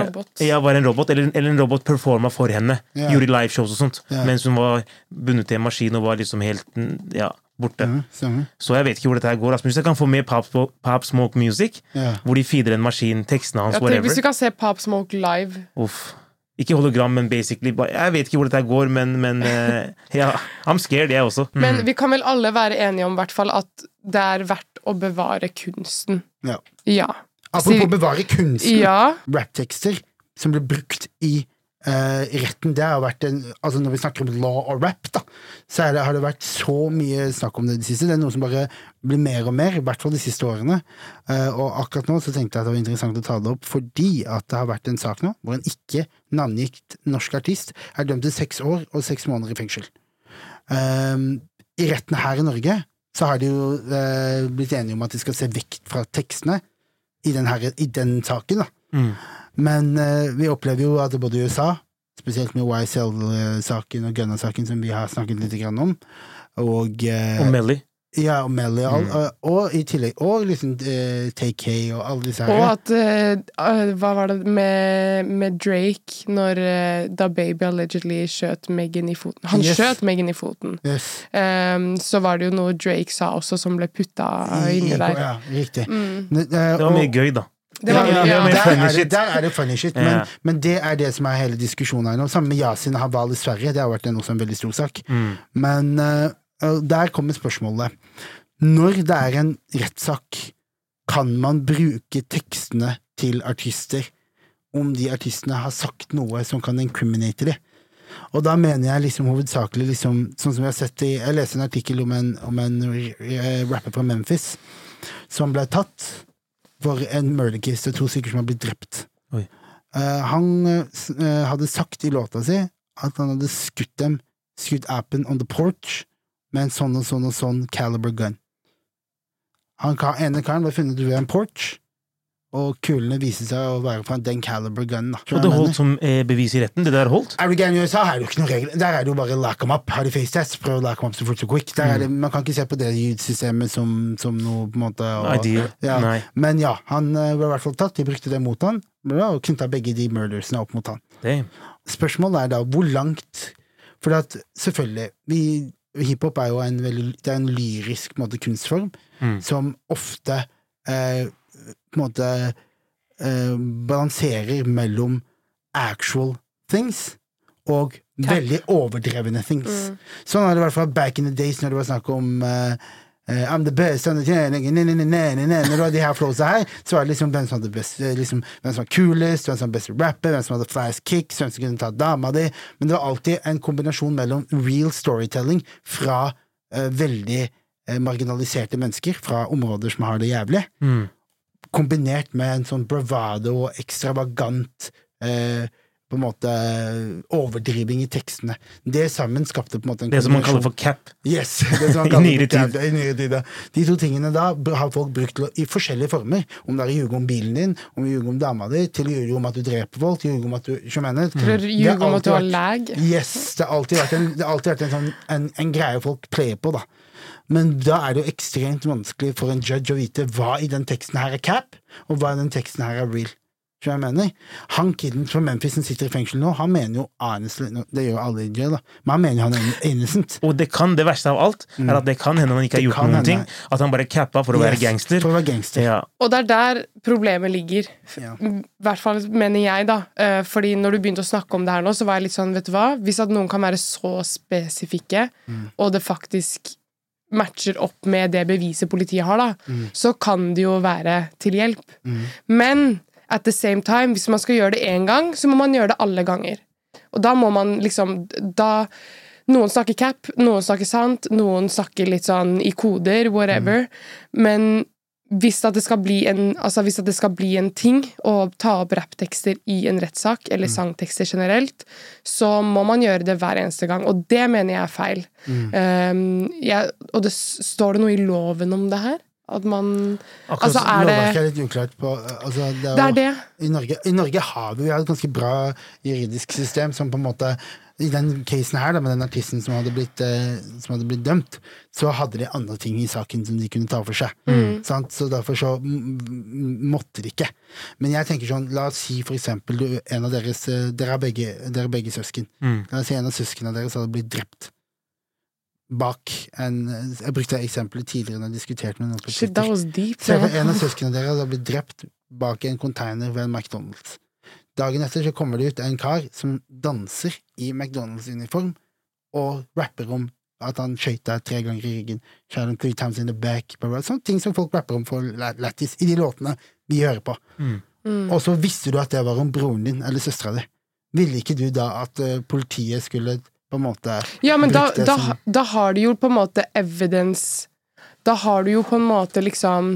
Speaker 3: En robot.
Speaker 2: Ja, var en robot, eller, eller en robot performa for henne.
Speaker 1: Ja.
Speaker 2: Gjorde liveshows og sånt.
Speaker 1: Ja.
Speaker 2: Mens hun var bundet til en maskin og var liksom helt mm, ja, borte.
Speaker 1: Ja, stemmer.
Speaker 2: Så jeg vet ikke hvor dette her går. Altså, hvis jeg kan få med Pop, Pop Smoke Music,
Speaker 1: Ja.
Speaker 2: hvor de feeder en maskin tekstene hans,
Speaker 3: Jeg tror, hvis du
Speaker 2: whatever
Speaker 3: kan se Pop Smoke live
Speaker 2: Uff. Ikke hologram, men basically bare- Jeg vet ikke hvor dette her går, men, men eh, ja, I'm scared, jeg også. Mm.
Speaker 3: Men vi kan vel alle være enige om hvert fall at det er verdt å bevare kunsten.
Speaker 1: Ja.
Speaker 3: Ja.
Speaker 1: Apropos
Speaker 3: Sier-
Speaker 1: bevare kunsten.
Speaker 3: Ja.
Speaker 1: rapptekster som ble brukt i eh, retten. Det har vært en, altså Når vi snakker om law og rap, da, så er det, har det vært så mye snakk om det i det siste. Det er noe som bare blir mer og mer, i hvert fall de siste årene. Eh, og akkurat nå så tenkte jeg at det var interessant å ta det opp, fordi at det har vært en sak nå hvor en ikke navngitt norsk artist er dømt til seks år og seks måneder i fengsel. Ehm, I retten her i Norge så har de jo eh, blitt enige om at de skal se vekk fra tekstene i den, her, i den saken, da.
Speaker 2: Mm.
Speaker 1: Men eh, vi opplever jo at både i USA, spesielt med YSL-saken og Gunna-saken, som vi har snakket litt grann om, og eh,
Speaker 2: Mm. Og Mm. Melly.
Speaker 1: ja, og Melly, og, og, og i tillegg og liksom eh, TK og alle disse
Speaker 3: Og
Speaker 1: her
Speaker 3: at eh, eh, Hva var det med, med Drake når eh, da Baby allegedly skjøt Megan i foten? Han
Speaker 1: Yes.
Speaker 3: skjøt Megan i foten.
Speaker 1: Yes.
Speaker 3: Ehm, så var det jo noe Drake sa også, som ble putta inni
Speaker 1: I-
Speaker 3: der.
Speaker 1: Ja, riktig.
Speaker 3: Mm.
Speaker 1: Ne- eh,
Speaker 2: ah, Det var
Speaker 1: og-
Speaker 2: mye gøy, da.
Speaker 3: Det var,
Speaker 2: Ja,
Speaker 3: ja,
Speaker 2: ja, ja, men-
Speaker 1: Der,
Speaker 2: funny
Speaker 1: er det,
Speaker 2: shit.
Speaker 1: der er det funny shit, men,
Speaker 2: Ja.
Speaker 1: men det er det som er hele diskusjonen her nå. Sammen med Yasin Haval i Sverige, det har vært en, også en veldig stor sak.
Speaker 2: Mm.
Speaker 1: Men eh, der kommer spørsmålet. Når det er en rettssak kan man bruke tekstene til artister om de artistene har sagt noe som kan incriminate dem. Og da mener jeg liksom hovedsakelig liksom, sånn som jeg har sett i Jeg leste en artikkel om en, om en r- r- rapper fra Memphis som ble tatt for en murder case. Det er to stykker som har blitt drept.
Speaker 2: Oi.
Speaker 1: Eh, han eh, s- eh, hadde sagt i låta si at han hadde skutt dem, skutt apen on the porch, med en sånn og sånn og sånn caliber gun. Han ka- ene karen ble funnet ved en porch, og kulene viste seg å være fra den caliber gunnen. da.
Speaker 2: Og det holdt som eh, bevis i retten? Det der holdt?
Speaker 1: Er du gæren i USA, er det jo ikke noen regler. Der er det jo bare lock them up. Har de facetest, prøv å lock them up så fort som quick.
Speaker 2: Mm.
Speaker 1: Der er det, man kan ikke se på det lydsystemet som, som noe på en måte og,
Speaker 2: Ideal.
Speaker 1: ja.
Speaker 2: Nei.
Speaker 1: Men ja, han eh, ble i hvert fall tatt. De brukte det mot han, bra, og knytta begge de murdersene opp mot han.
Speaker 2: Damn.
Speaker 1: Spørsmålet er da hvor langt For at selvfølgelig vi, Hiphop er jo en, veldig, det er en lyrisk på en måte, kunstform
Speaker 2: Mm.
Speaker 1: som ofte eh, på en måte eh, balanserer mellom actual things og veldig overdrevne things. Sånn var det i hvert fall back in the days når det var snakk om eh, eh, I'm the best I'm the king, ne, ne, ne, ne, ne, ne. Når det var de her flåsa her, så var det liksom hvem som hadde best, eh, liksom, hvem som var kulest, hvem som var best rapper, hvem som hadde flyest kicks, hvem som kunne ta dama di. Men det var alltid en kombinasjon mellom real storytelling fra eh, veldig eh, marginaliserte mennesker, fra områder som har det jævlig, kombinert med en sånn bravado og ekstravagant eh, på en måte overdriving i tekstene. Det sammen skapte på en måte en
Speaker 2: Det som man kaller
Speaker 1: kombinasjon.
Speaker 2: for cap.
Speaker 1: Yes! Det som man
Speaker 2: I
Speaker 1: kaller
Speaker 2: nyere
Speaker 1: for
Speaker 2: tid.
Speaker 1: cap- I nyere tid. ja. De to tingene da b- har folk brukt til å, i forskjellige former. Om det er å ljuge om bilen din, om å ljuge om dama di, til å ljuge om at du dreper folk, til å ljuge om at du ikke mener
Speaker 3: Til å ljuge om at du har lag.
Speaker 1: Yes! Det har alltid vært en, det har alltid vært en, sånn, en, en greie folk player på, da. Men da er det jo ekstremt vanskelig for en judge å vite hva i den teksten her er cap, og hva i den teksten her er real. Tror jeg jeg mener. Han kiden fra Memphis som sitter i fengsel nå, han mener jo honestly nå- Det gjør jo alle i jail, da, men han mener jo han er innocent.
Speaker 2: Og det kan, det verste av alt, er at det kan hende han ikke har
Speaker 1: Mm. Det
Speaker 2: gjort
Speaker 1: kan
Speaker 2: noen ting.
Speaker 1: hende.
Speaker 2: At han bare cappa for å være
Speaker 1: Yes,
Speaker 2: gangster.
Speaker 1: For å være gangster.
Speaker 2: Ja.
Speaker 3: Og det er der problemet ligger.
Speaker 1: Ja.
Speaker 3: I hvert fall mener jeg, da. Eh, Fordi når du begynte å snakke om det her nå, så var jeg litt sånn, vet du hva Hvis at noen kan være så spesifikke,
Speaker 2: Mm.
Speaker 3: og det faktisk matcher opp med det beviset politiet har, da,
Speaker 2: Mm.
Speaker 3: så kan det jo være til hjelp. Men at the same time, hvis man skal gjøre det én gang, så må man gjøre det alle ganger. Og da må man liksom Da Noen snakker cap, noen snakker sant, noen snakker litt sånn i koder, whatever.
Speaker 1: Mm.
Speaker 3: Men hvis at det skal bli en, altså hvis at det skal bli en ting å ta opp rapptekster i en rettssak,
Speaker 1: Mm.
Speaker 3: eller sangtekster generelt, så må man gjøre det hver eneste gang. Og det mener jeg er feil.
Speaker 1: Mm.
Speaker 3: Um, jeg, og det, s- står det noe i loven om det her? At man
Speaker 2: Akkurat
Speaker 3: Altså, er
Speaker 1: Lovverket
Speaker 3: det
Speaker 1: er litt uklart på altså, det,
Speaker 3: Det
Speaker 1: jo-
Speaker 3: er det.
Speaker 1: I Norge, I Norge har vi jo et ganske bra juridisk system som på en måte I den casen her, da, med den artisten som hadde blitt, eh, som hadde blitt dømt, så hadde de andre ting i saken som de kunne ta for seg. Sant? Så derfor så m- m- måtte de ikke. Men jeg tenker sånn, la oss si for eksempel du, en av deres eh, Dere er begge, dere er begge søsken.
Speaker 2: Mm.
Speaker 1: La oss si en av søsknene deres hadde blitt drept. Bak en eh, Jeg brukte det eksempelet tidligere når jeg diskuterte med noen på
Speaker 3: Shit,
Speaker 1: Twitter.
Speaker 3: that was deep.
Speaker 1: Se for
Speaker 3: man.
Speaker 1: en av søsknene deres hadde blitt drept bak i en container ved en McDonald's. Dagen etter så kommer det ut en kar som danser i McDonald's-uniform og rapper om at han skøyt deg tre ganger i ryggen. Shot him three times in the back. bla, bla, Sånne ting som folk rapper om for la- lættis i de låtene vi hører på. Og så visste du at det var om broren din eller søstera di. Ville ikke du da at eh, politiet skulle på en måte
Speaker 3: Ja, men da,
Speaker 1: brukt det
Speaker 3: da,
Speaker 1: som-
Speaker 3: da har du jo på en måte evidence Da har du jo på en måte liksom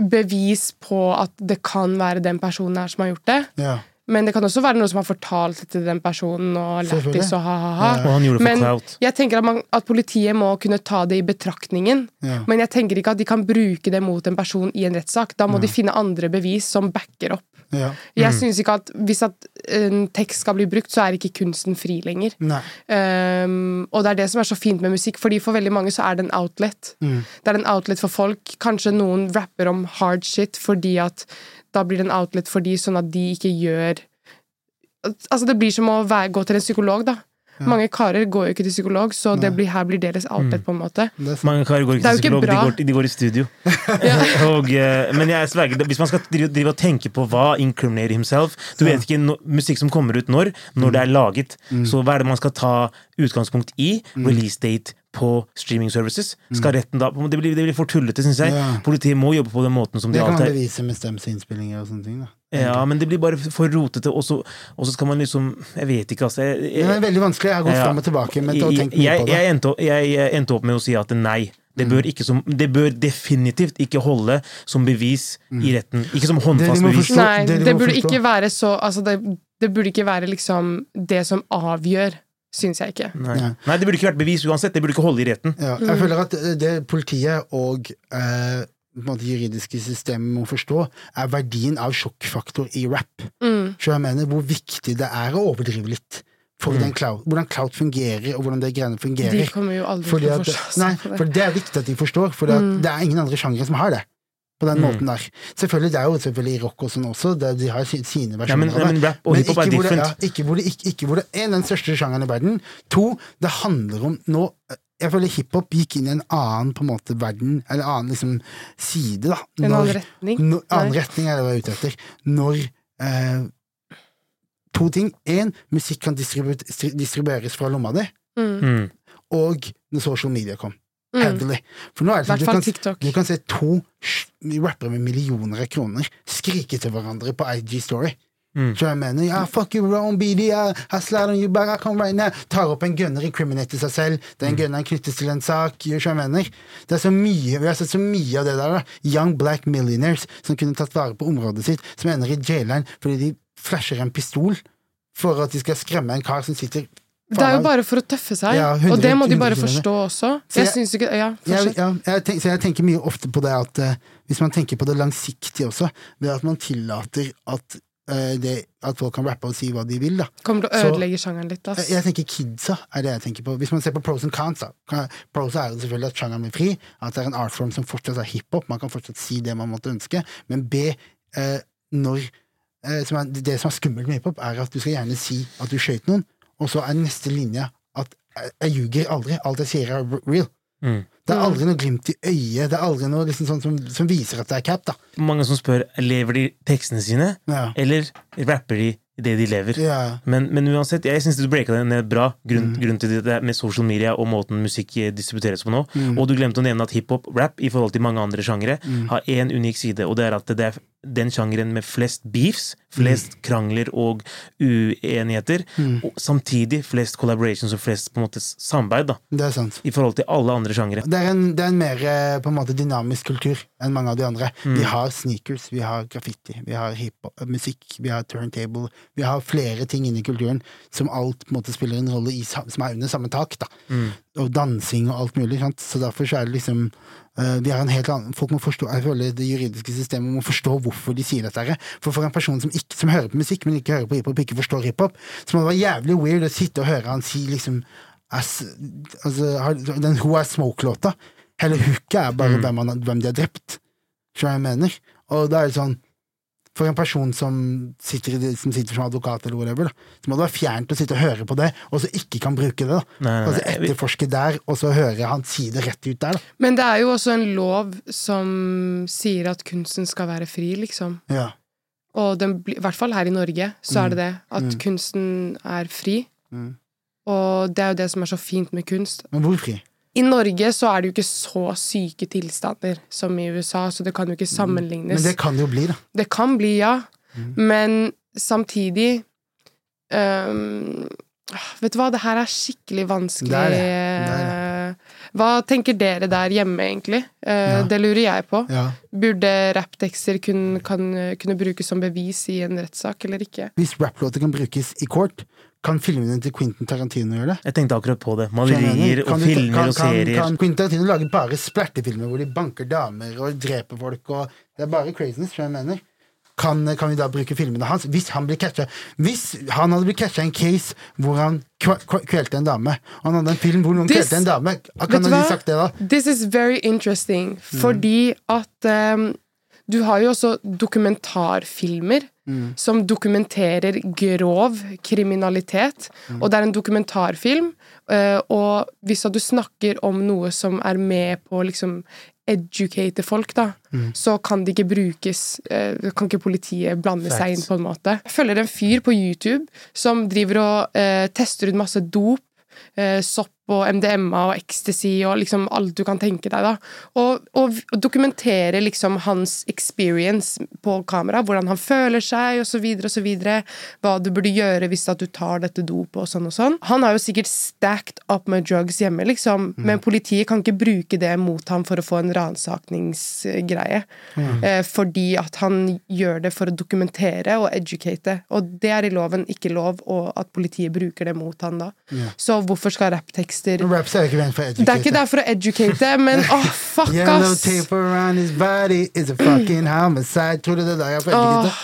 Speaker 3: Bevis på at det kan være den personen her som har gjort det.
Speaker 1: Ja.
Speaker 3: Men det kan også være noen som har fortalt det til den personen, og
Speaker 1: Selvfølgelig.
Speaker 3: lættis og ha-ha-ha.
Speaker 2: Og han gjorde det for
Speaker 3: Men
Speaker 2: clout.
Speaker 3: jeg tenker at, man, at politiet må kunne ta det i betraktningen.
Speaker 1: Ja.
Speaker 3: Men jeg tenker ikke at de kan bruke det mot en person i en rettssak. Da må de finne andre bevis som backer opp.
Speaker 1: ja.
Speaker 3: Jeg synes ikke at Hvis at en tekst skal bli brukt, så er ikke kunsten fri lenger.
Speaker 1: Nei.
Speaker 3: Um, og det er det som er så fint med musikk, fordi for veldig mange så er det en outlet.
Speaker 1: Mm.
Speaker 3: Det er en outlet for folk. Kanskje noen rapper om hard shit fordi at da blir det en outlet for de, sånn at de ikke gjør Altså, det blir som å være, gå til en psykolog, da. Mange karer går jo ikke til psykolog, så det blir, her blir deres outlet, på en måte.
Speaker 1: Det er sant.
Speaker 2: Mange karer går ikke
Speaker 3: Det er jo
Speaker 2: til psykolog, de
Speaker 3: ikke bra.
Speaker 2: går, de går i studio. og, eh, men jeg sverger, det- hvis man skal drive, drive og tenke på hva incriminater himself Du vet ikke no, musikk som
Speaker 3: Mm. Mm.
Speaker 2: kommer ut når, når det er laget. Så hva er det man skal ta utgangspunkt i? Release date, på streaming services. Skal retten da Det blir, det blir for tullete, syns jeg.
Speaker 1: Ja.
Speaker 2: Politiet må jobbe på den måten som de
Speaker 1: Det kan
Speaker 2: alltid
Speaker 1: man bevise med stems innspillinger og sånne ting. da.
Speaker 2: Ja, men det blir bare for rotete, og så, og så skal man liksom Jeg vet ikke, altså. Jeg,
Speaker 1: Det er
Speaker 2: jeg,
Speaker 1: veldig vanskelig. Jeg har gått
Speaker 2: Ja.
Speaker 1: fram og tilbake med å
Speaker 2: jeg,
Speaker 1: tenke mye på det.
Speaker 2: Eh,
Speaker 1: Mm.
Speaker 2: jeg endte, opp- jeg, jeg endte opp med å si at nei. Det bør, ikke som, det bør definitivt ikke holde som bevis
Speaker 1: Mm.
Speaker 2: i retten. Ikke som håndfast
Speaker 1: må
Speaker 2: bevis.
Speaker 1: forstå-
Speaker 3: Nei,
Speaker 1: det du
Speaker 3: det
Speaker 1: må
Speaker 3: burde
Speaker 1: forstå.
Speaker 3: ikke være så Altså, det, det burde ikke være liksom det som avgjør, syns jeg ikke.
Speaker 2: Nei.
Speaker 1: Ja.
Speaker 2: nei, det burde ikke vært bevis uansett. Det burde ikke holde i retten.
Speaker 1: Ja, jeg
Speaker 3: Mm.
Speaker 1: føler at eh, det politiet og eh, på en måte juridiske systemet må forstå, er verdien av sjokkfaktor i rap.
Speaker 3: Mm.
Speaker 1: Så jeg mener hvor viktig det er å overdrive litt.
Speaker 2: Mm.
Speaker 1: For den cloud, hvordan cloud fungerer, og hvordan de greiene
Speaker 3: De
Speaker 1: fungerer.
Speaker 3: kommer jo aldri
Speaker 1: Fordi
Speaker 3: til
Speaker 1: at,
Speaker 3: å forstå
Speaker 1: nei,
Speaker 3: seg på
Speaker 1: for
Speaker 3: det. Mm.
Speaker 1: det er viktig at de forstår, for det er ingen andre sjangere som har det. På den
Speaker 2: Mm.
Speaker 1: måten der. Selvfølgelig, Det er jo selvfølgelig i rock og sånn også, det, de har si- sine
Speaker 2: Ja,
Speaker 1: versjoner
Speaker 2: men, ja,
Speaker 1: av det.
Speaker 2: men rap og
Speaker 1: Men
Speaker 2: hiphop er
Speaker 1: ikke hvor det-
Speaker 2: different.
Speaker 1: ja, ikke hvor det ikke, ikke hvor det er den største sjangeren i verden. To, det handler om nå Jeg føler hiphop gikk inn i en annen på en måte verden, eller annen liksom side, da.
Speaker 3: En annen
Speaker 1: Når-
Speaker 3: retning.
Speaker 1: Når, annen
Speaker 3: Nei.
Speaker 1: retning er det jeg er ute etter. Når eh, To ting. Én, musikk kan distribu stri- distribueres fra lomma di.
Speaker 3: Mm.
Speaker 2: Mm.
Speaker 1: Og når social media kom.
Speaker 3: Mm.
Speaker 1: Heavily. For nå er det sånn
Speaker 3: I hvert
Speaker 1: du
Speaker 3: fall
Speaker 1: kan,
Speaker 3: TikTok.
Speaker 1: du kan se to sj- rappere med millioner av kroner skrike til hverandre på IG Story.
Speaker 2: Mm.
Speaker 1: Så jeg mener, ja, fuck you, wrong BD, I, I slide on you back, I come right now. Tar opp en gunner, incriminater seg selv,
Speaker 3: Mm.
Speaker 1: den gunneren knyttes til en sak, gjør som jeg mener. Det er så mye, vi har sett så mye av det der, da. Young black millionaires som kunne tatt vare på området sitt, som ender i jaileren fordi de flasher en pistol for at de skal skremme en kar som sitter
Speaker 3: Det er jo
Speaker 1: Faen,
Speaker 3: bare for å tøffe seg,
Speaker 1: Ja,
Speaker 3: og det må de
Speaker 1: 100
Speaker 3: bare
Speaker 1: 100
Speaker 3: forstå også.
Speaker 1: Så
Speaker 3: Jeg
Speaker 1: jeg-
Speaker 3: syns ikke Ja,
Speaker 1: jeg,
Speaker 3: fortsett.
Speaker 1: ja, jeg tenk, så jeg tenker mye ofte på det at eh, hvis man tenker på det langsiktig også, ved at man tillater at, eh, det, at folk kan rappe og si hva de vil, da.
Speaker 3: Kommer til å
Speaker 1: så-
Speaker 3: ødelegge sjangeren litt, ass.
Speaker 1: Eh, Jeg, jeg tenker kidsa er det jeg tenker på. Hvis man ser på pros and cons, da. kan- Pros er jo selvfølgelig at sjangeren blir fri, at det er en artform som fortsatt er hiphop, man kan fortsatt si det man måtte ønske, men B, eh, når eh, som er, Det som er skummelt med hiphop, er at du skal gjerne si at du skøyt noen, og så er neste linje at eh, jeg ljuger aldri, alt jeg sier er r- real.
Speaker 2: Mm.
Speaker 1: Det er aldri noe glimt i øyet, det er aldri noe liksom sånn som, som viser at det er cap, da.
Speaker 2: Mange som spør lever de tekstene sine,
Speaker 1: Ja.
Speaker 2: eller rapper de det de lever.
Speaker 1: Ja.
Speaker 2: Men, men uansett, jeg syns du breaka det ned bra.
Speaker 1: Mm.
Speaker 2: Grunn, grunn til det der med social media og måten musikk eh, distribueres på nå.
Speaker 1: Mm.
Speaker 2: Og du glemte å nevne at hiphop, rap, i forhold til mange andre sjangere, har én unik side, og det er at det er den sjangeren med flest beefs,
Speaker 1: Mm.
Speaker 2: flest krangler og uenigheter,
Speaker 1: Mm.
Speaker 2: og samtidig flest collaborations og flest på en måte s- samarbeid, da,
Speaker 1: Det er sant.
Speaker 2: i forhold til alle andre sjangere.
Speaker 1: Det er en, det er en mer eh, på en måte dynamisk kultur enn mange av de andre. Vi har sneakers, vi har graffiti, vi har hiphop, eh, musikk, vi har turntable. Vi har flere ting inni kulturen som alt på en måte spiller en rolle i, sa- som er under samme tak. da. Og dansing og alt mulig. sant? Så derfor så er det liksom eh, vi har en helt annen, folk må forstå, jeg føler Det juridiske systemet må forstå hvorfor de sier dette. her. For for en person som, ikke, som hører på musikk, men ikke hører på hiphop, ikke forstår hiphop, så må det være jævlig weird å sitte og høre han si liksom ass, altså, har- den Who Are Smoke-låta. Hele hooket er
Speaker 2: Mm.
Speaker 1: bare hvem, han, har- hvem de har drept. Skjønner du hva jeg mener? Og da er det sånn For en person som sitter, i det- som sitter som advokat, eller whatever, da, så må det være fjernt å sitte og høre på det, og så ikke kan bruke det. da.
Speaker 2: Nei, nei,
Speaker 1: altså
Speaker 2: nei, vi-
Speaker 1: Etterforske der, og så høre han si det rett ut der. da.
Speaker 3: Men det er jo også en lov som sier at kunsten skal være fri, liksom.
Speaker 1: Ja.
Speaker 3: Og den, bli- i hvert fall her i Norge, så er det det. At kunsten er fri.
Speaker 1: Mm.
Speaker 3: Og det er jo det som er så fint med kunst.
Speaker 1: Men hvor fri?
Speaker 3: I Norge så er det jo ikke så syke tilstander som i USA, så det kan jo ikke
Speaker 1: Mm. Men
Speaker 3: sammenlignes.
Speaker 1: det kan det jo bli, da.
Speaker 3: Det kan bli, ja.
Speaker 1: Mm.
Speaker 3: Men samtidig øhm, Vet du hva, det her er skikkelig vanskelig. eh,
Speaker 1: Det er det. Det
Speaker 3: Hva tenker dere der hjemme, egentlig? Eh,
Speaker 1: Ja.
Speaker 3: Det lurer jeg på.
Speaker 1: Ja.
Speaker 3: Burde rapptekster kun, kan, kunne brukes som bevis i en rettssak, eller ikke?
Speaker 1: Hvis rapplåter kan brukes i court, kan filmene til Quentin Tarantino gjøre det?
Speaker 2: Jeg tenkte akkurat på det.
Speaker 1: Skjønner jeg
Speaker 2: Malerier
Speaker 1: mener?
Speaker 2: og
Speaker 1: Kan du-
Speaker 2: filmer og serier.
Speaker 1: Kan, kan Quentin Tarantino lage bare splertefilmer hvor de banker damer og dreper folk og Det er bare craziness, tror jeg jeg mener. Kan, kan vi da bruke filmene hans? Hvis han blir catcha Hvis han hadde blitt catcha i en case hvor han kva- kva- kvelte en dame, og han hadde en film hvor noen
Speaker 3: This-
Speaker 1: kvelte en dame,
Speaker 3: Vet
Speaker 1: kan
Speaker 3: du
Speaker 1: han ha
Speaker 3: hva?
Speaker 1: sagt det da? Mm.
Speaker 3: This is very interesting, fordi at ehm, du har jo også dokumentarfilmer
Speaker 1: Mm.
Speaker 3: som dokumenterer grov kriminalitet.
Speaker 1: Mm.
Speaker 3: Og det er en dokumentarfilm, eh, og hvis at du snakker om noe som er med på å liksom educate folk, da,
Speaker 1: Mm.
Speaker 3: så kan det ikke brukes eh, Kan ikke politiet blande seg inn, på en måte. Jeg følger en fyr på YouTube som driver og eh, tester ut masse dop eh, sopp og MDMA og ecstasy og liksom alt du kan tenke deg, da. Og, og v- og dokumentere liksom hans experience på kamera, hvordan han føler seg, og så videre og så videre. Hva du burde gjøre hvis at du tar dette dopet og sånn og sånn. Han har jo sikkert stacked up med drugs hjemme, liksom,
Speaker 2: Mhm.
Speaker 3: men politiet kan ikke bruke det mot ham for å få en ransakningsgreie.
Speaker 2: Mhm.
Speaker 3: Eh, fordi at han gjør det for å dokumentere og educate. Og det er i loven ikke lov, og at politiet bruker det mot han da. Så hvorfor skal rapptekster
Speaker 1: Raps er ikke ment for educate.
Speaker 3: Det er ikke der for å educate, men åh, fuck,
Speaker 1: Yellow
Speaker 3: ass!
Speaker 1: tape around his body is a fucking homicide. Tror du det der er for educate?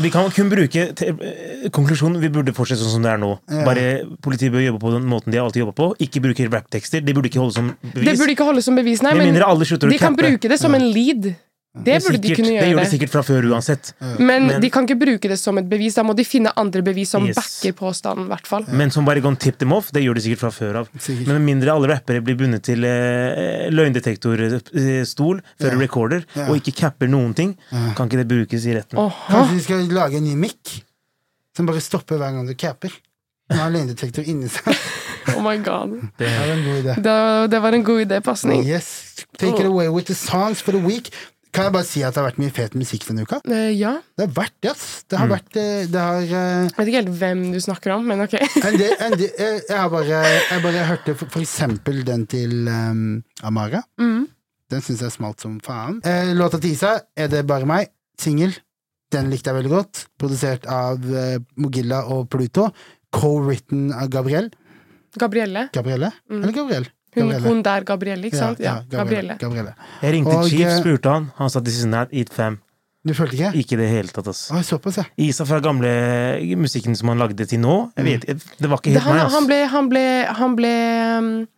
Speaker 2: Vi kan kun bruke te- eh, konklusjonen Vi burde fortsette sånn som det er nå. Bare Politiet bør jobbe på den måten de alltid jobber på. Ikke bruke rapptekster. De burde ikke holde som
Speaker 3: Det
Speaker 2: bevis.
Speaker 3: burde ikke holdes som bevis, nei,
Speaker 2: Med
Speaker 3: men
Speaker 2: mindre alle slutter å
Speaker 3: de kan
Speaker 2: cappe.
Speaker 3: bruke det som en lead. Det burde de
Speaker 2: Sikkert.
Speaker 3: kunne
Speaker 2: det gjør de
Speaker 3: gjøre.
Speaker 2: sikkert fra før uansett.
Speaker 3: Men
Speaker 2: Men-
Speaker 3: de kan ikke bruke det som et bevis. Da må de finne andre bevis som
Speaker 2: Yes.
Speaker 3: backer påstanden, i hvert fall.
Speaker 2: Men som bare gone tip them off, det gjør de sikkert fra før av.
Speaker 1: Sikkert.
Speaker 2: Men med mindre alle rappere blir bundet til eh, løgndetektorstol før
Speaker 1: Ja.
Speaker 2: recorder,
Speaker 1: Ja.
Speaker 2: og ikke capper noen ting, kan ikke det brukes i retten.
Speaker 3: Åha.
Speaker 1: Kanskje de skal lage en ny mic som bare stopper hver gang du caper. Nå har løgndetektor inni seg.
Speaker 3: Oh my god.
Speaker 1: Det er en god idé.
Speaker 3: Det, det var en god idépasning.
Speaker 1: Yes. Take it away with the songs for the week. Kan jeg bare si at det har vært mye fet musikk denne uka?
Speaker 3: Eh, ja.
Speaker 1: Det har vært det, ass. Det
Speaker 3: Mm.
Speaker 1: har vært eh, Det har eh,
Speaker 3: Jeg vet ikke helt hvem du snakker om, men ok.
Speaker 1: en del, en del, eh, jeg, har bare, jeg bare hørte for, for eksempel den til ehm, Amara.
Speaker 3: Mm.
Speaker 1: Den syns jeg smalt som faen. Eh, låta til Isa, 'Er det bare meg?', singel. Den likte jeg veldig godt. Produsert av eh, Mogilla og Pluto. Co-written av Gabriel.
Speaker 3: Gabrielle.
Speaker 1: Gabrielle? Eller Gabriel?
Speaker 3: Mm. Hun,
Speaker 1: Gabrielle.
Speaker 3: hun der Gabrielle, ikke sant? Ja,
Speaker 1: Gabrielle.
Speaker 3: Gabrielle.
Speaker 1: Gabrielle.
Speaker 2: Jeg ringte
Speaker 1: Og,
Speaker 2: Chief,
Speaker 1: eh,
Speaker 2: spurte han. Han sa this is not it fam.
Speaker 1: Du følte ikke?
Speaker 2: Ikke i det hele tatt, ass.
Speaker 1: Å, såpass, ja.
Speaker 2: Isa fra gamle musikken som han lagde til nå, jeg vet,
Speaker 1: Mm.
Speaker 2: det var ikke
Speaker 3: Det,
Speaker 2: helt
Speaker 3: han,
Speaker 2: meg, ass.
Speaker 3: han ble, han ble, han ble um,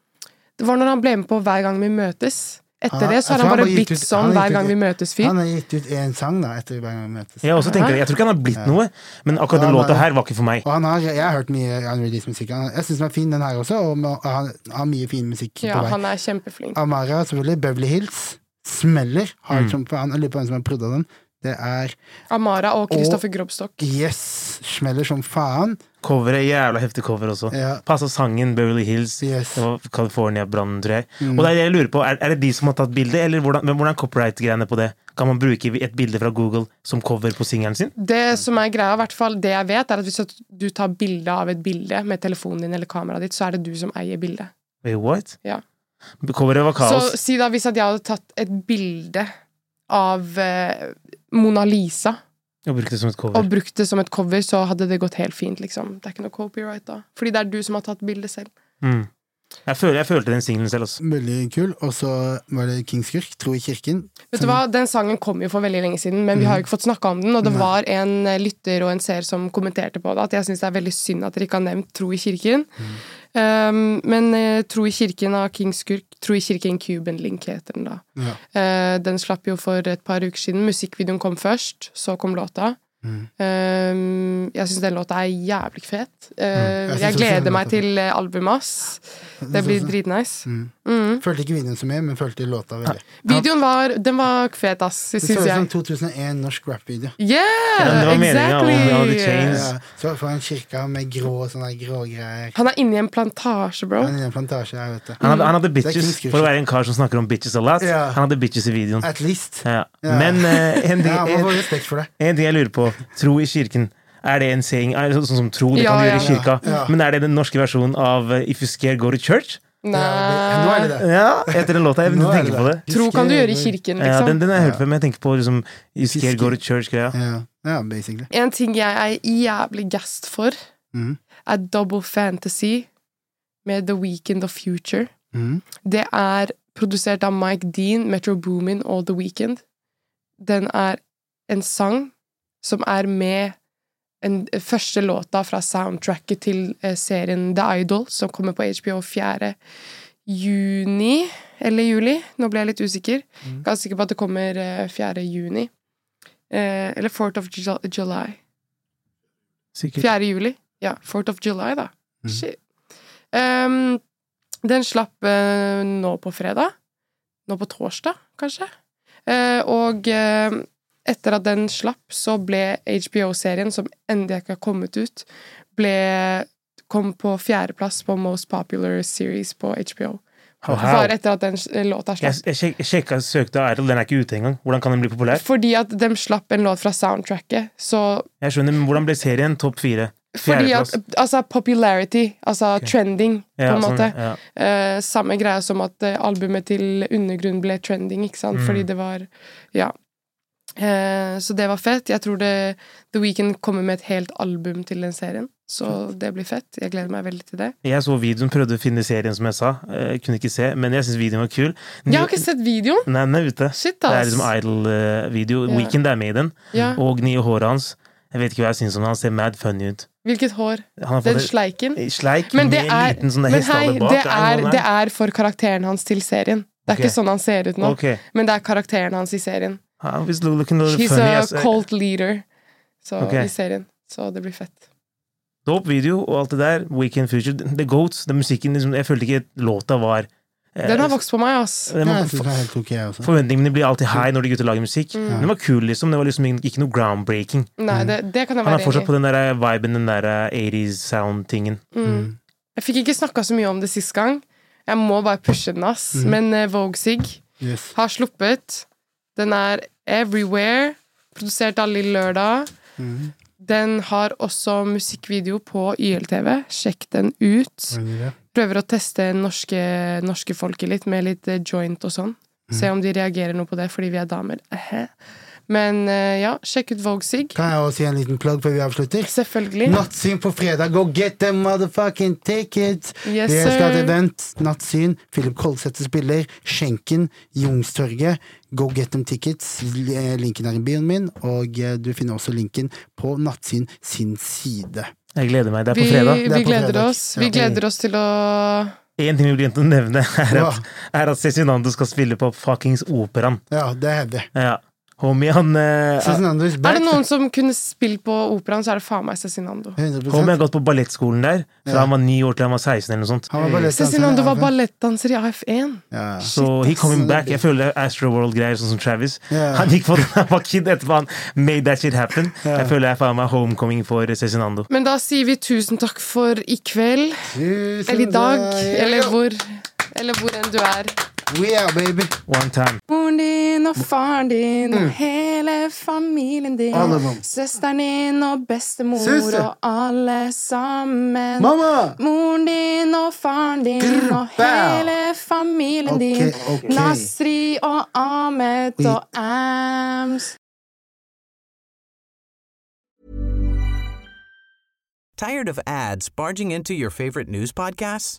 Speaker 3: Det var når han ble med på Hver gang vi møtes. Etter
Speaker 1: Han-
Speaker 3: det så
Speaker 1: jeg tror
Speaker 3: har han
Speaker 1: han
Speaker 3: bare
Speaker 1: bare gitt
Speaker 3: blitt
Speaker 1: ut- han
Speaker 3: sånn
Speaker 1: har gitt
Speaker 3: Hver gang
Speaker 1: ut-
Speaker 3: vi møtes-fyr.
Speaker 1: Han har gitt ut én sang da, etter hver gang vi møtes.
Speaker 2: Jeg, også tenker, det. jeg tror ikke han har blitt noe, men akkurat den
Speaker 1: Ja,
Speaker 2: låta
Speaker 1: nei.
Speaker 2: her var ikke for meg.
Speaker 1: Og han har, jeg har hørt mye unreleased musikk. Han- Jeg syns den er fin, den her også, og må- han har mye fin musikk
Speaker 3: Ja,
Speaker 1: på vei.
Speaker 3: han er kjempeflink.
Speaker 1: Amara, selvfølgelig. Beverly Hills. Smeller.
Speaker 2: Mm.
Speaker 1: Hard som faen. Jeg lurer på hvem som har prøvd av den. Det er
Speaker 3: Amara og Kristoffer Grobstok.
Speaker 1: Yes, smeller som faen.
Speaker 2: Coveret, jævla heftig cover også.
Speaker 1: Ja.
Speaker 2: Passa sangen Beverly Hills.
Speaker 1: Yes. Mm.
Speaker 2: Det var California-brannen, tror jeg. Og det er det jeg lurer på, er, er det de som har tatt bildet, eller hvordan, men hvordan er copyright-greiene på det? Kan man bruke et bilde fra Google som cover på singelen sin?
Speaker 3: Det som er greia, i hvert fall det jeg vet, er at hvis at du tar bilde av et bilde med telefonen din eller kameraet ditt, så er det du som eier bildet.
Speaker 2: Wait, what?
Speaker 3: Ja.
Speaker 2: Coveret var kaos.
Speaker 3: Så si da hvis at jeg hadde tatt et bilde av eh, Mona Lisa
Speaker 2: Og brukte det som et cover.
Speaker 3: og brukt det som et cover, så hadde det gått helt fint, liksom. Det er ikke noe copyright da. Fordi det er du som har tatt bildet selv.
Speaker 2: Mm. Jeg, føl, jeg følte den singelen selv, altså.
Speaker 1: Veldig kul. Og så var det King Skurk, Tro i kirken.
Speaker 3: Vet du hva, Den sangen kom jo for veldig lenge siden, men vi har jo ikke fått snakka om den. Og det var en eh, lytter og en seer som kommenterte på det, at jeg syns det er veldig synd at dere ikke har nevnt Tro i kirken.
Speaker 1: Mm.
Speaker 3: Um, men eh, Tro i kirken av King Skurk, Tro i kirken Cuban Link heter den da.
Speaker 1: Ja.
Speaker 3: Eh, den slapp jo for et par uker siden. Musikkvideoen kom først, så kom låta.
Speaker 1: Mm.
Speaker 3: Um, jeg syns den låta er jævlig fet.
Speaker 1: Mm.
Speaker 3: Eh,
Speaker 1: Jeg synes
Speaker 3: Jeg
Speaker 1: også den
Speaker 3: gleder
Speaker 1: låta
Speaker 3: meg
Speaker 1: er
Speaker 3: til eh, albumet, ass. Det
Speaker 1: synes
Speaker 3: blir
Speaker 1: også- Mm.
Speaker 3: dritnice. Mm.
Speaker 1: Følte ikke videoen så mye, men følte låta veldig.
Speaker 3: Videoen var, den var fet, ass,
Speaker 1: Det sånn så
Speaker 3: syns
Speaker 1: ut som
Speaker 3: jeg.
Speaker 1: 2001 norsk rap-video.
Speaker 3: Yeah!
Speaker 2: det var meningen, ja,
Speaker 3: exactly!
Speaker 2: all the chains.
Speaker 1: Ja, så foran kirka med grå sånne grågreier.
Speaker 3: Han er inne i en plantasje, bro.
Speaker 1: Han er i en plantasje her, vet du.
Speaker 2: Han hadde, han hadde
Speaker 1: Mm. er King
Speaker 2: bitches,
Speaker 1: Skurk.
Speaker 2: for å være en kar som snakker om bitches a lot.
Speaker 1: Ja.
Speaker 2: Han hadde bitches i videoen.
Speaker 1: At least.
Speaker 2: Ja.
Speaker 1: Ja.
Speaker 2: Men eh, en,
Speaker 1: Ja, man
Speaker 2: en,
Speaker 1: får respekt for det.
Speaker 2: En ting jeg lurer på. Tro i kirken. Er det en saying? Er det så- sånn som tro det
Speaker 3: Ja,
Speaker 2: kan du gjøre i
Speaker 3: ja.
Speaker 2: kirka?
Speaker 1: Ja.
Speaker 2: Men er det den norske versjonen av eh, If you scare, go to church?
Speaker 1: Ja, det- Nå er
Speaker 3: Nei
Speaker 1: det det.
Speaker 2: Ja, etter den låta. Jeg
Speaker 1: Nå
Speaker 2: begynte å
Speaker 1: er
Speaker 2: tenke på det.
Speaker 3: Tro kan du gjøre i kirken,
Speaker 2: Ja, den,
Speaker 3: liksom.
Speaker 2: den har jeg hørt før, men jeg tenker på liksom You scare, go to church-greia.
Speaker 1: Ja, ja basically.
Speaker 3: En ting jeg er jævlig gassed for,
Speaker 1: Mhm.
Speaker 3: er Double Fantasy med The Weekend of Future.
Speaker 1: Mhm.
Speaker 3: Det er produsert av Mike Dean, Metro Boomin og The Weekend. Den er en sang som er med en, eh, første låta fra soundtracket til eh, serien The Idol, som kommer på HBO 4. juni, eller juli, nå ble jeg litt usikker. Ganske sikker på at det kommer eh, 4. juni. Eh, eller 4th of Ju- July.
Speaker 2: Sikkert. Mm.
Speaker 3: 4. juli. Ja, 4th of July, da. Shit. Ehm, den slapp eh, nå på fredag. Nå på torsdag, kanskje. Eh, og eh, etter at den slapp, så ble HBO-serien, som ennå ikke har kommet ut, ble kom på fjerdeplass på Most Popular Series på HBO.
Speaker 2: Wow.
Speaker 3: Bare etter at den s- eh, låta slapp.
Speaker 2: Jeg, jeg, sjek, jeg sjekka, søkte Idol, den er ikke ute engang. Hvordan kan den bli populær?
Speaker 3: Fordi at de slapp en låt fra soundtracket. Så
Speaker 2: Jeg skjønner, men Hvordan ble serien topp fire?
Speaker 3: fordi at
Speaker 2: Fjerdeplass.
Speaker 3: Altså popularity. Altså trending, på
Speaker 2: Ja,
Speaker 3: en
Speaker 2: sånn,
Speaker 3: måte.
Speaker 2: ja.
Speaker 3: Eh, samme greia som at eh, albumet til Undergrunn ble trending, ikke
Speaker 2: Mm.
Speaker 3: sant? Fordi det var Ja. Eh, så det var fett. Jeg tror det, The Weeknd kommer med et helt album til den serien. Så det blir fett. Jeg gleder meg veldig til det.
Speaker 2: Jeg så videoen, prøvde å finne serien, som jeg sa. Eh, kunne ikke se, men jeg syns videoen var kul.
Speaker 3: Jeg har ikke sett videoen!
Speaker 2: Nei, den er ute.
Speaker 3: Shit,
Speaker 2: Det er
Speaker 3: ass.
Speaker 2: liksom Idol-video.
Speaker 3: Ja.
Speaker 2: Weekend er med i den.
Speaker 3: Ja.
Speaker 2: Og nye håret hans. Jeg vet ikke hva jeg syns om det. Han ser mad funny ut.
Speaker 3: Hvilket hår?
Speaker 2: Han har
Speaker 3: Den
Speaker 2: fått
Speaker 3: sleiken?
Speaker 2: en sleik
Speaker 3: Men det
Speaker 2: med en
Speaker 3: er,
Speaker 2: liten sånn
Speaker 3: men hei,
Speaker 2: hestehale bak.
Speaker 3: det, er,
Speaker 2: noe
Speaker 3: det
Speaker 2: der.
Speaker 3: er for karakteren hans til serien. Det er
Speaker 2: Ok.
Speaker 3: ikke sånn han ser ut nå,
Speaker 2: Ok.
Speaker 3: men det er karakteren hans i serien.
Speaker 2: Ah, he's looking a little
Speaker 3: He's
Speaker 2: funny, altså,
Speaker 3: a
Speaker 2: ass.
Speaker 3: cult leader så,
Speaker 2: Ok.
Speaker 3: i serien, så det blir fett.
Speaker 2: Dope video og alt det der. Weekend Future. The Goats. Den musikken liksom, Jeg følte ikke låta var eh,
Speaker 3: Den har vokst på meg, ass.
Speaker 2: den
Speaker 1: Nei,
Speaker 2: var-
Speaker 1: jeg synes det er helt ok, jeg også.
Speaker 2: Forventningene blir alltid high når de gutta lager musikk.
Speaker 3: Mm.
Speaker 2: Den var kul, liksom. Det var liksom ikke noe groundbreaking.
Speaker 3: Nei, det, det kan jeg
Speaker 2: Mm. Han er
Speaker 3: være
Speaker 2: fortsatt
Speaker 3: enig i.
Speaker 2: på den der eh, viben, den der eh, 80s sound-tingen.
Speaker 3: Mm. Jeg fikk ikke snakka så mye om det sist gang. Jeg må bare pushe den, ass.
Speaker 2: Mm.
Speaker 3: Men eh, Vogue Sig
Speaker 1: Yes.
Speaker 3: har sluppet. Den er everywhere. Produsert av Lill Lørdag.
Speaker 2: Mm.
Speaker 3: Den har også musikkvideo på YLTV. Sjekk den ut.
Speaker 2: Mm.
Speaker 3: Prøver å teste norske, norske folket litt med litt eh, joint og sånn.
Speaker 2: Mm.
Speaker 3: Se om de reagerer noe på det, fordi vi er damer. Ehe. Men eh, ja, sjekk ut Vogue Sig.
Speaker 1: Kan jeg også si en liten plugg før vi avslutter?
Speaker 3: Selvfølgelig.
Speaker 1: Nattsyn på fredag. Go get them motherfucking tickets!
Speaker 3: Yes,
Speaker 1: Vi skal ha et
Speaker 3: sir.
Speaker 1: event. Nattsyn. Philip Kolsæter spiller. Skjenken. Youngstorget. Go get them tickets. L- Linken er i bioen min, og eh, du finner også linken på Nattsyn sin side.
Speaker 2: Jeg gleder meg. Det er
Speaker 3: Vi,
Speaker 2: på fredag.
Speaker 1: Det
Speaker 3: vi
Speaker 1: er på
Speaker 3: gleder
Speaker 1: fredag.
Speaker 3: oss. Vi
Speaker 1: Ja.
Speaker 3: gleder oss til å
Speaker 2: Én ting vi glemte å nevne, er
Speaker 1: Ja.
Speaker 2: at, er at Cezinando skal spille på fuckings Operaen.
Speaker 1: Ja, det er heavy.
Speaker 2: Ja. Homie, han eh,
Speaker 1: Cezinando is
Speaker 3: Er
Speaker 1: back.
Speaker 3: det noen som kunne spilt på operaen, så er det faen meg Cezinando.
Speaker 1: 100
Speaker 2: eh, Homie har gått på ballettskolen der fra
Speaker 1: Ja.
Speaker 2: han var ni år til han var 16. eller noe sånt.
Speaker 1: Han var ballettdanser.
Speaker 3: Cezinando var ballettdanser i AF1.
Speaker 1: Ja.
Speaker 2: Så he coming back. Jeg føler det er Astroworld-greier, sånn som Travis. Han gikk for han var kid etterpå. Han made that shit happen. Jeg føler jeg er faen meg homecoming for Cezinando.
Speaker 3: Men da sier vi tusen takk for i kveld,
Speaker 1: Tusen
Speaker 3: eller i dag,
Speaker 1: takk.
Speaker 3: eller hvor, eller hvor enn du er.
Speaker 1: We are, baby.
Speaker 2: One time.
Speaker 3: Moren din og faren din og hele familien din.
Speaker 1: Mm. Alle sammen.
Speaker 3: Søsteren din og bestemor
Speaker 1: Søster.
Speaker 3: og alle sammen.
Speaker 1: Mamma!
Speaker 3: Moren din og faren din
Speaker 1: Grr,
Speaker 3: og
Speaker 1: bæ.
Speaker 3: hele familien din.
Speaker 1: Ok, ok.
Speaker 3: Nasri og Ahmed
Speaker 1: Oi.
Speaker 3: og Ams.
Speaker 4: Tired of ads barging into your favorite news podcasts?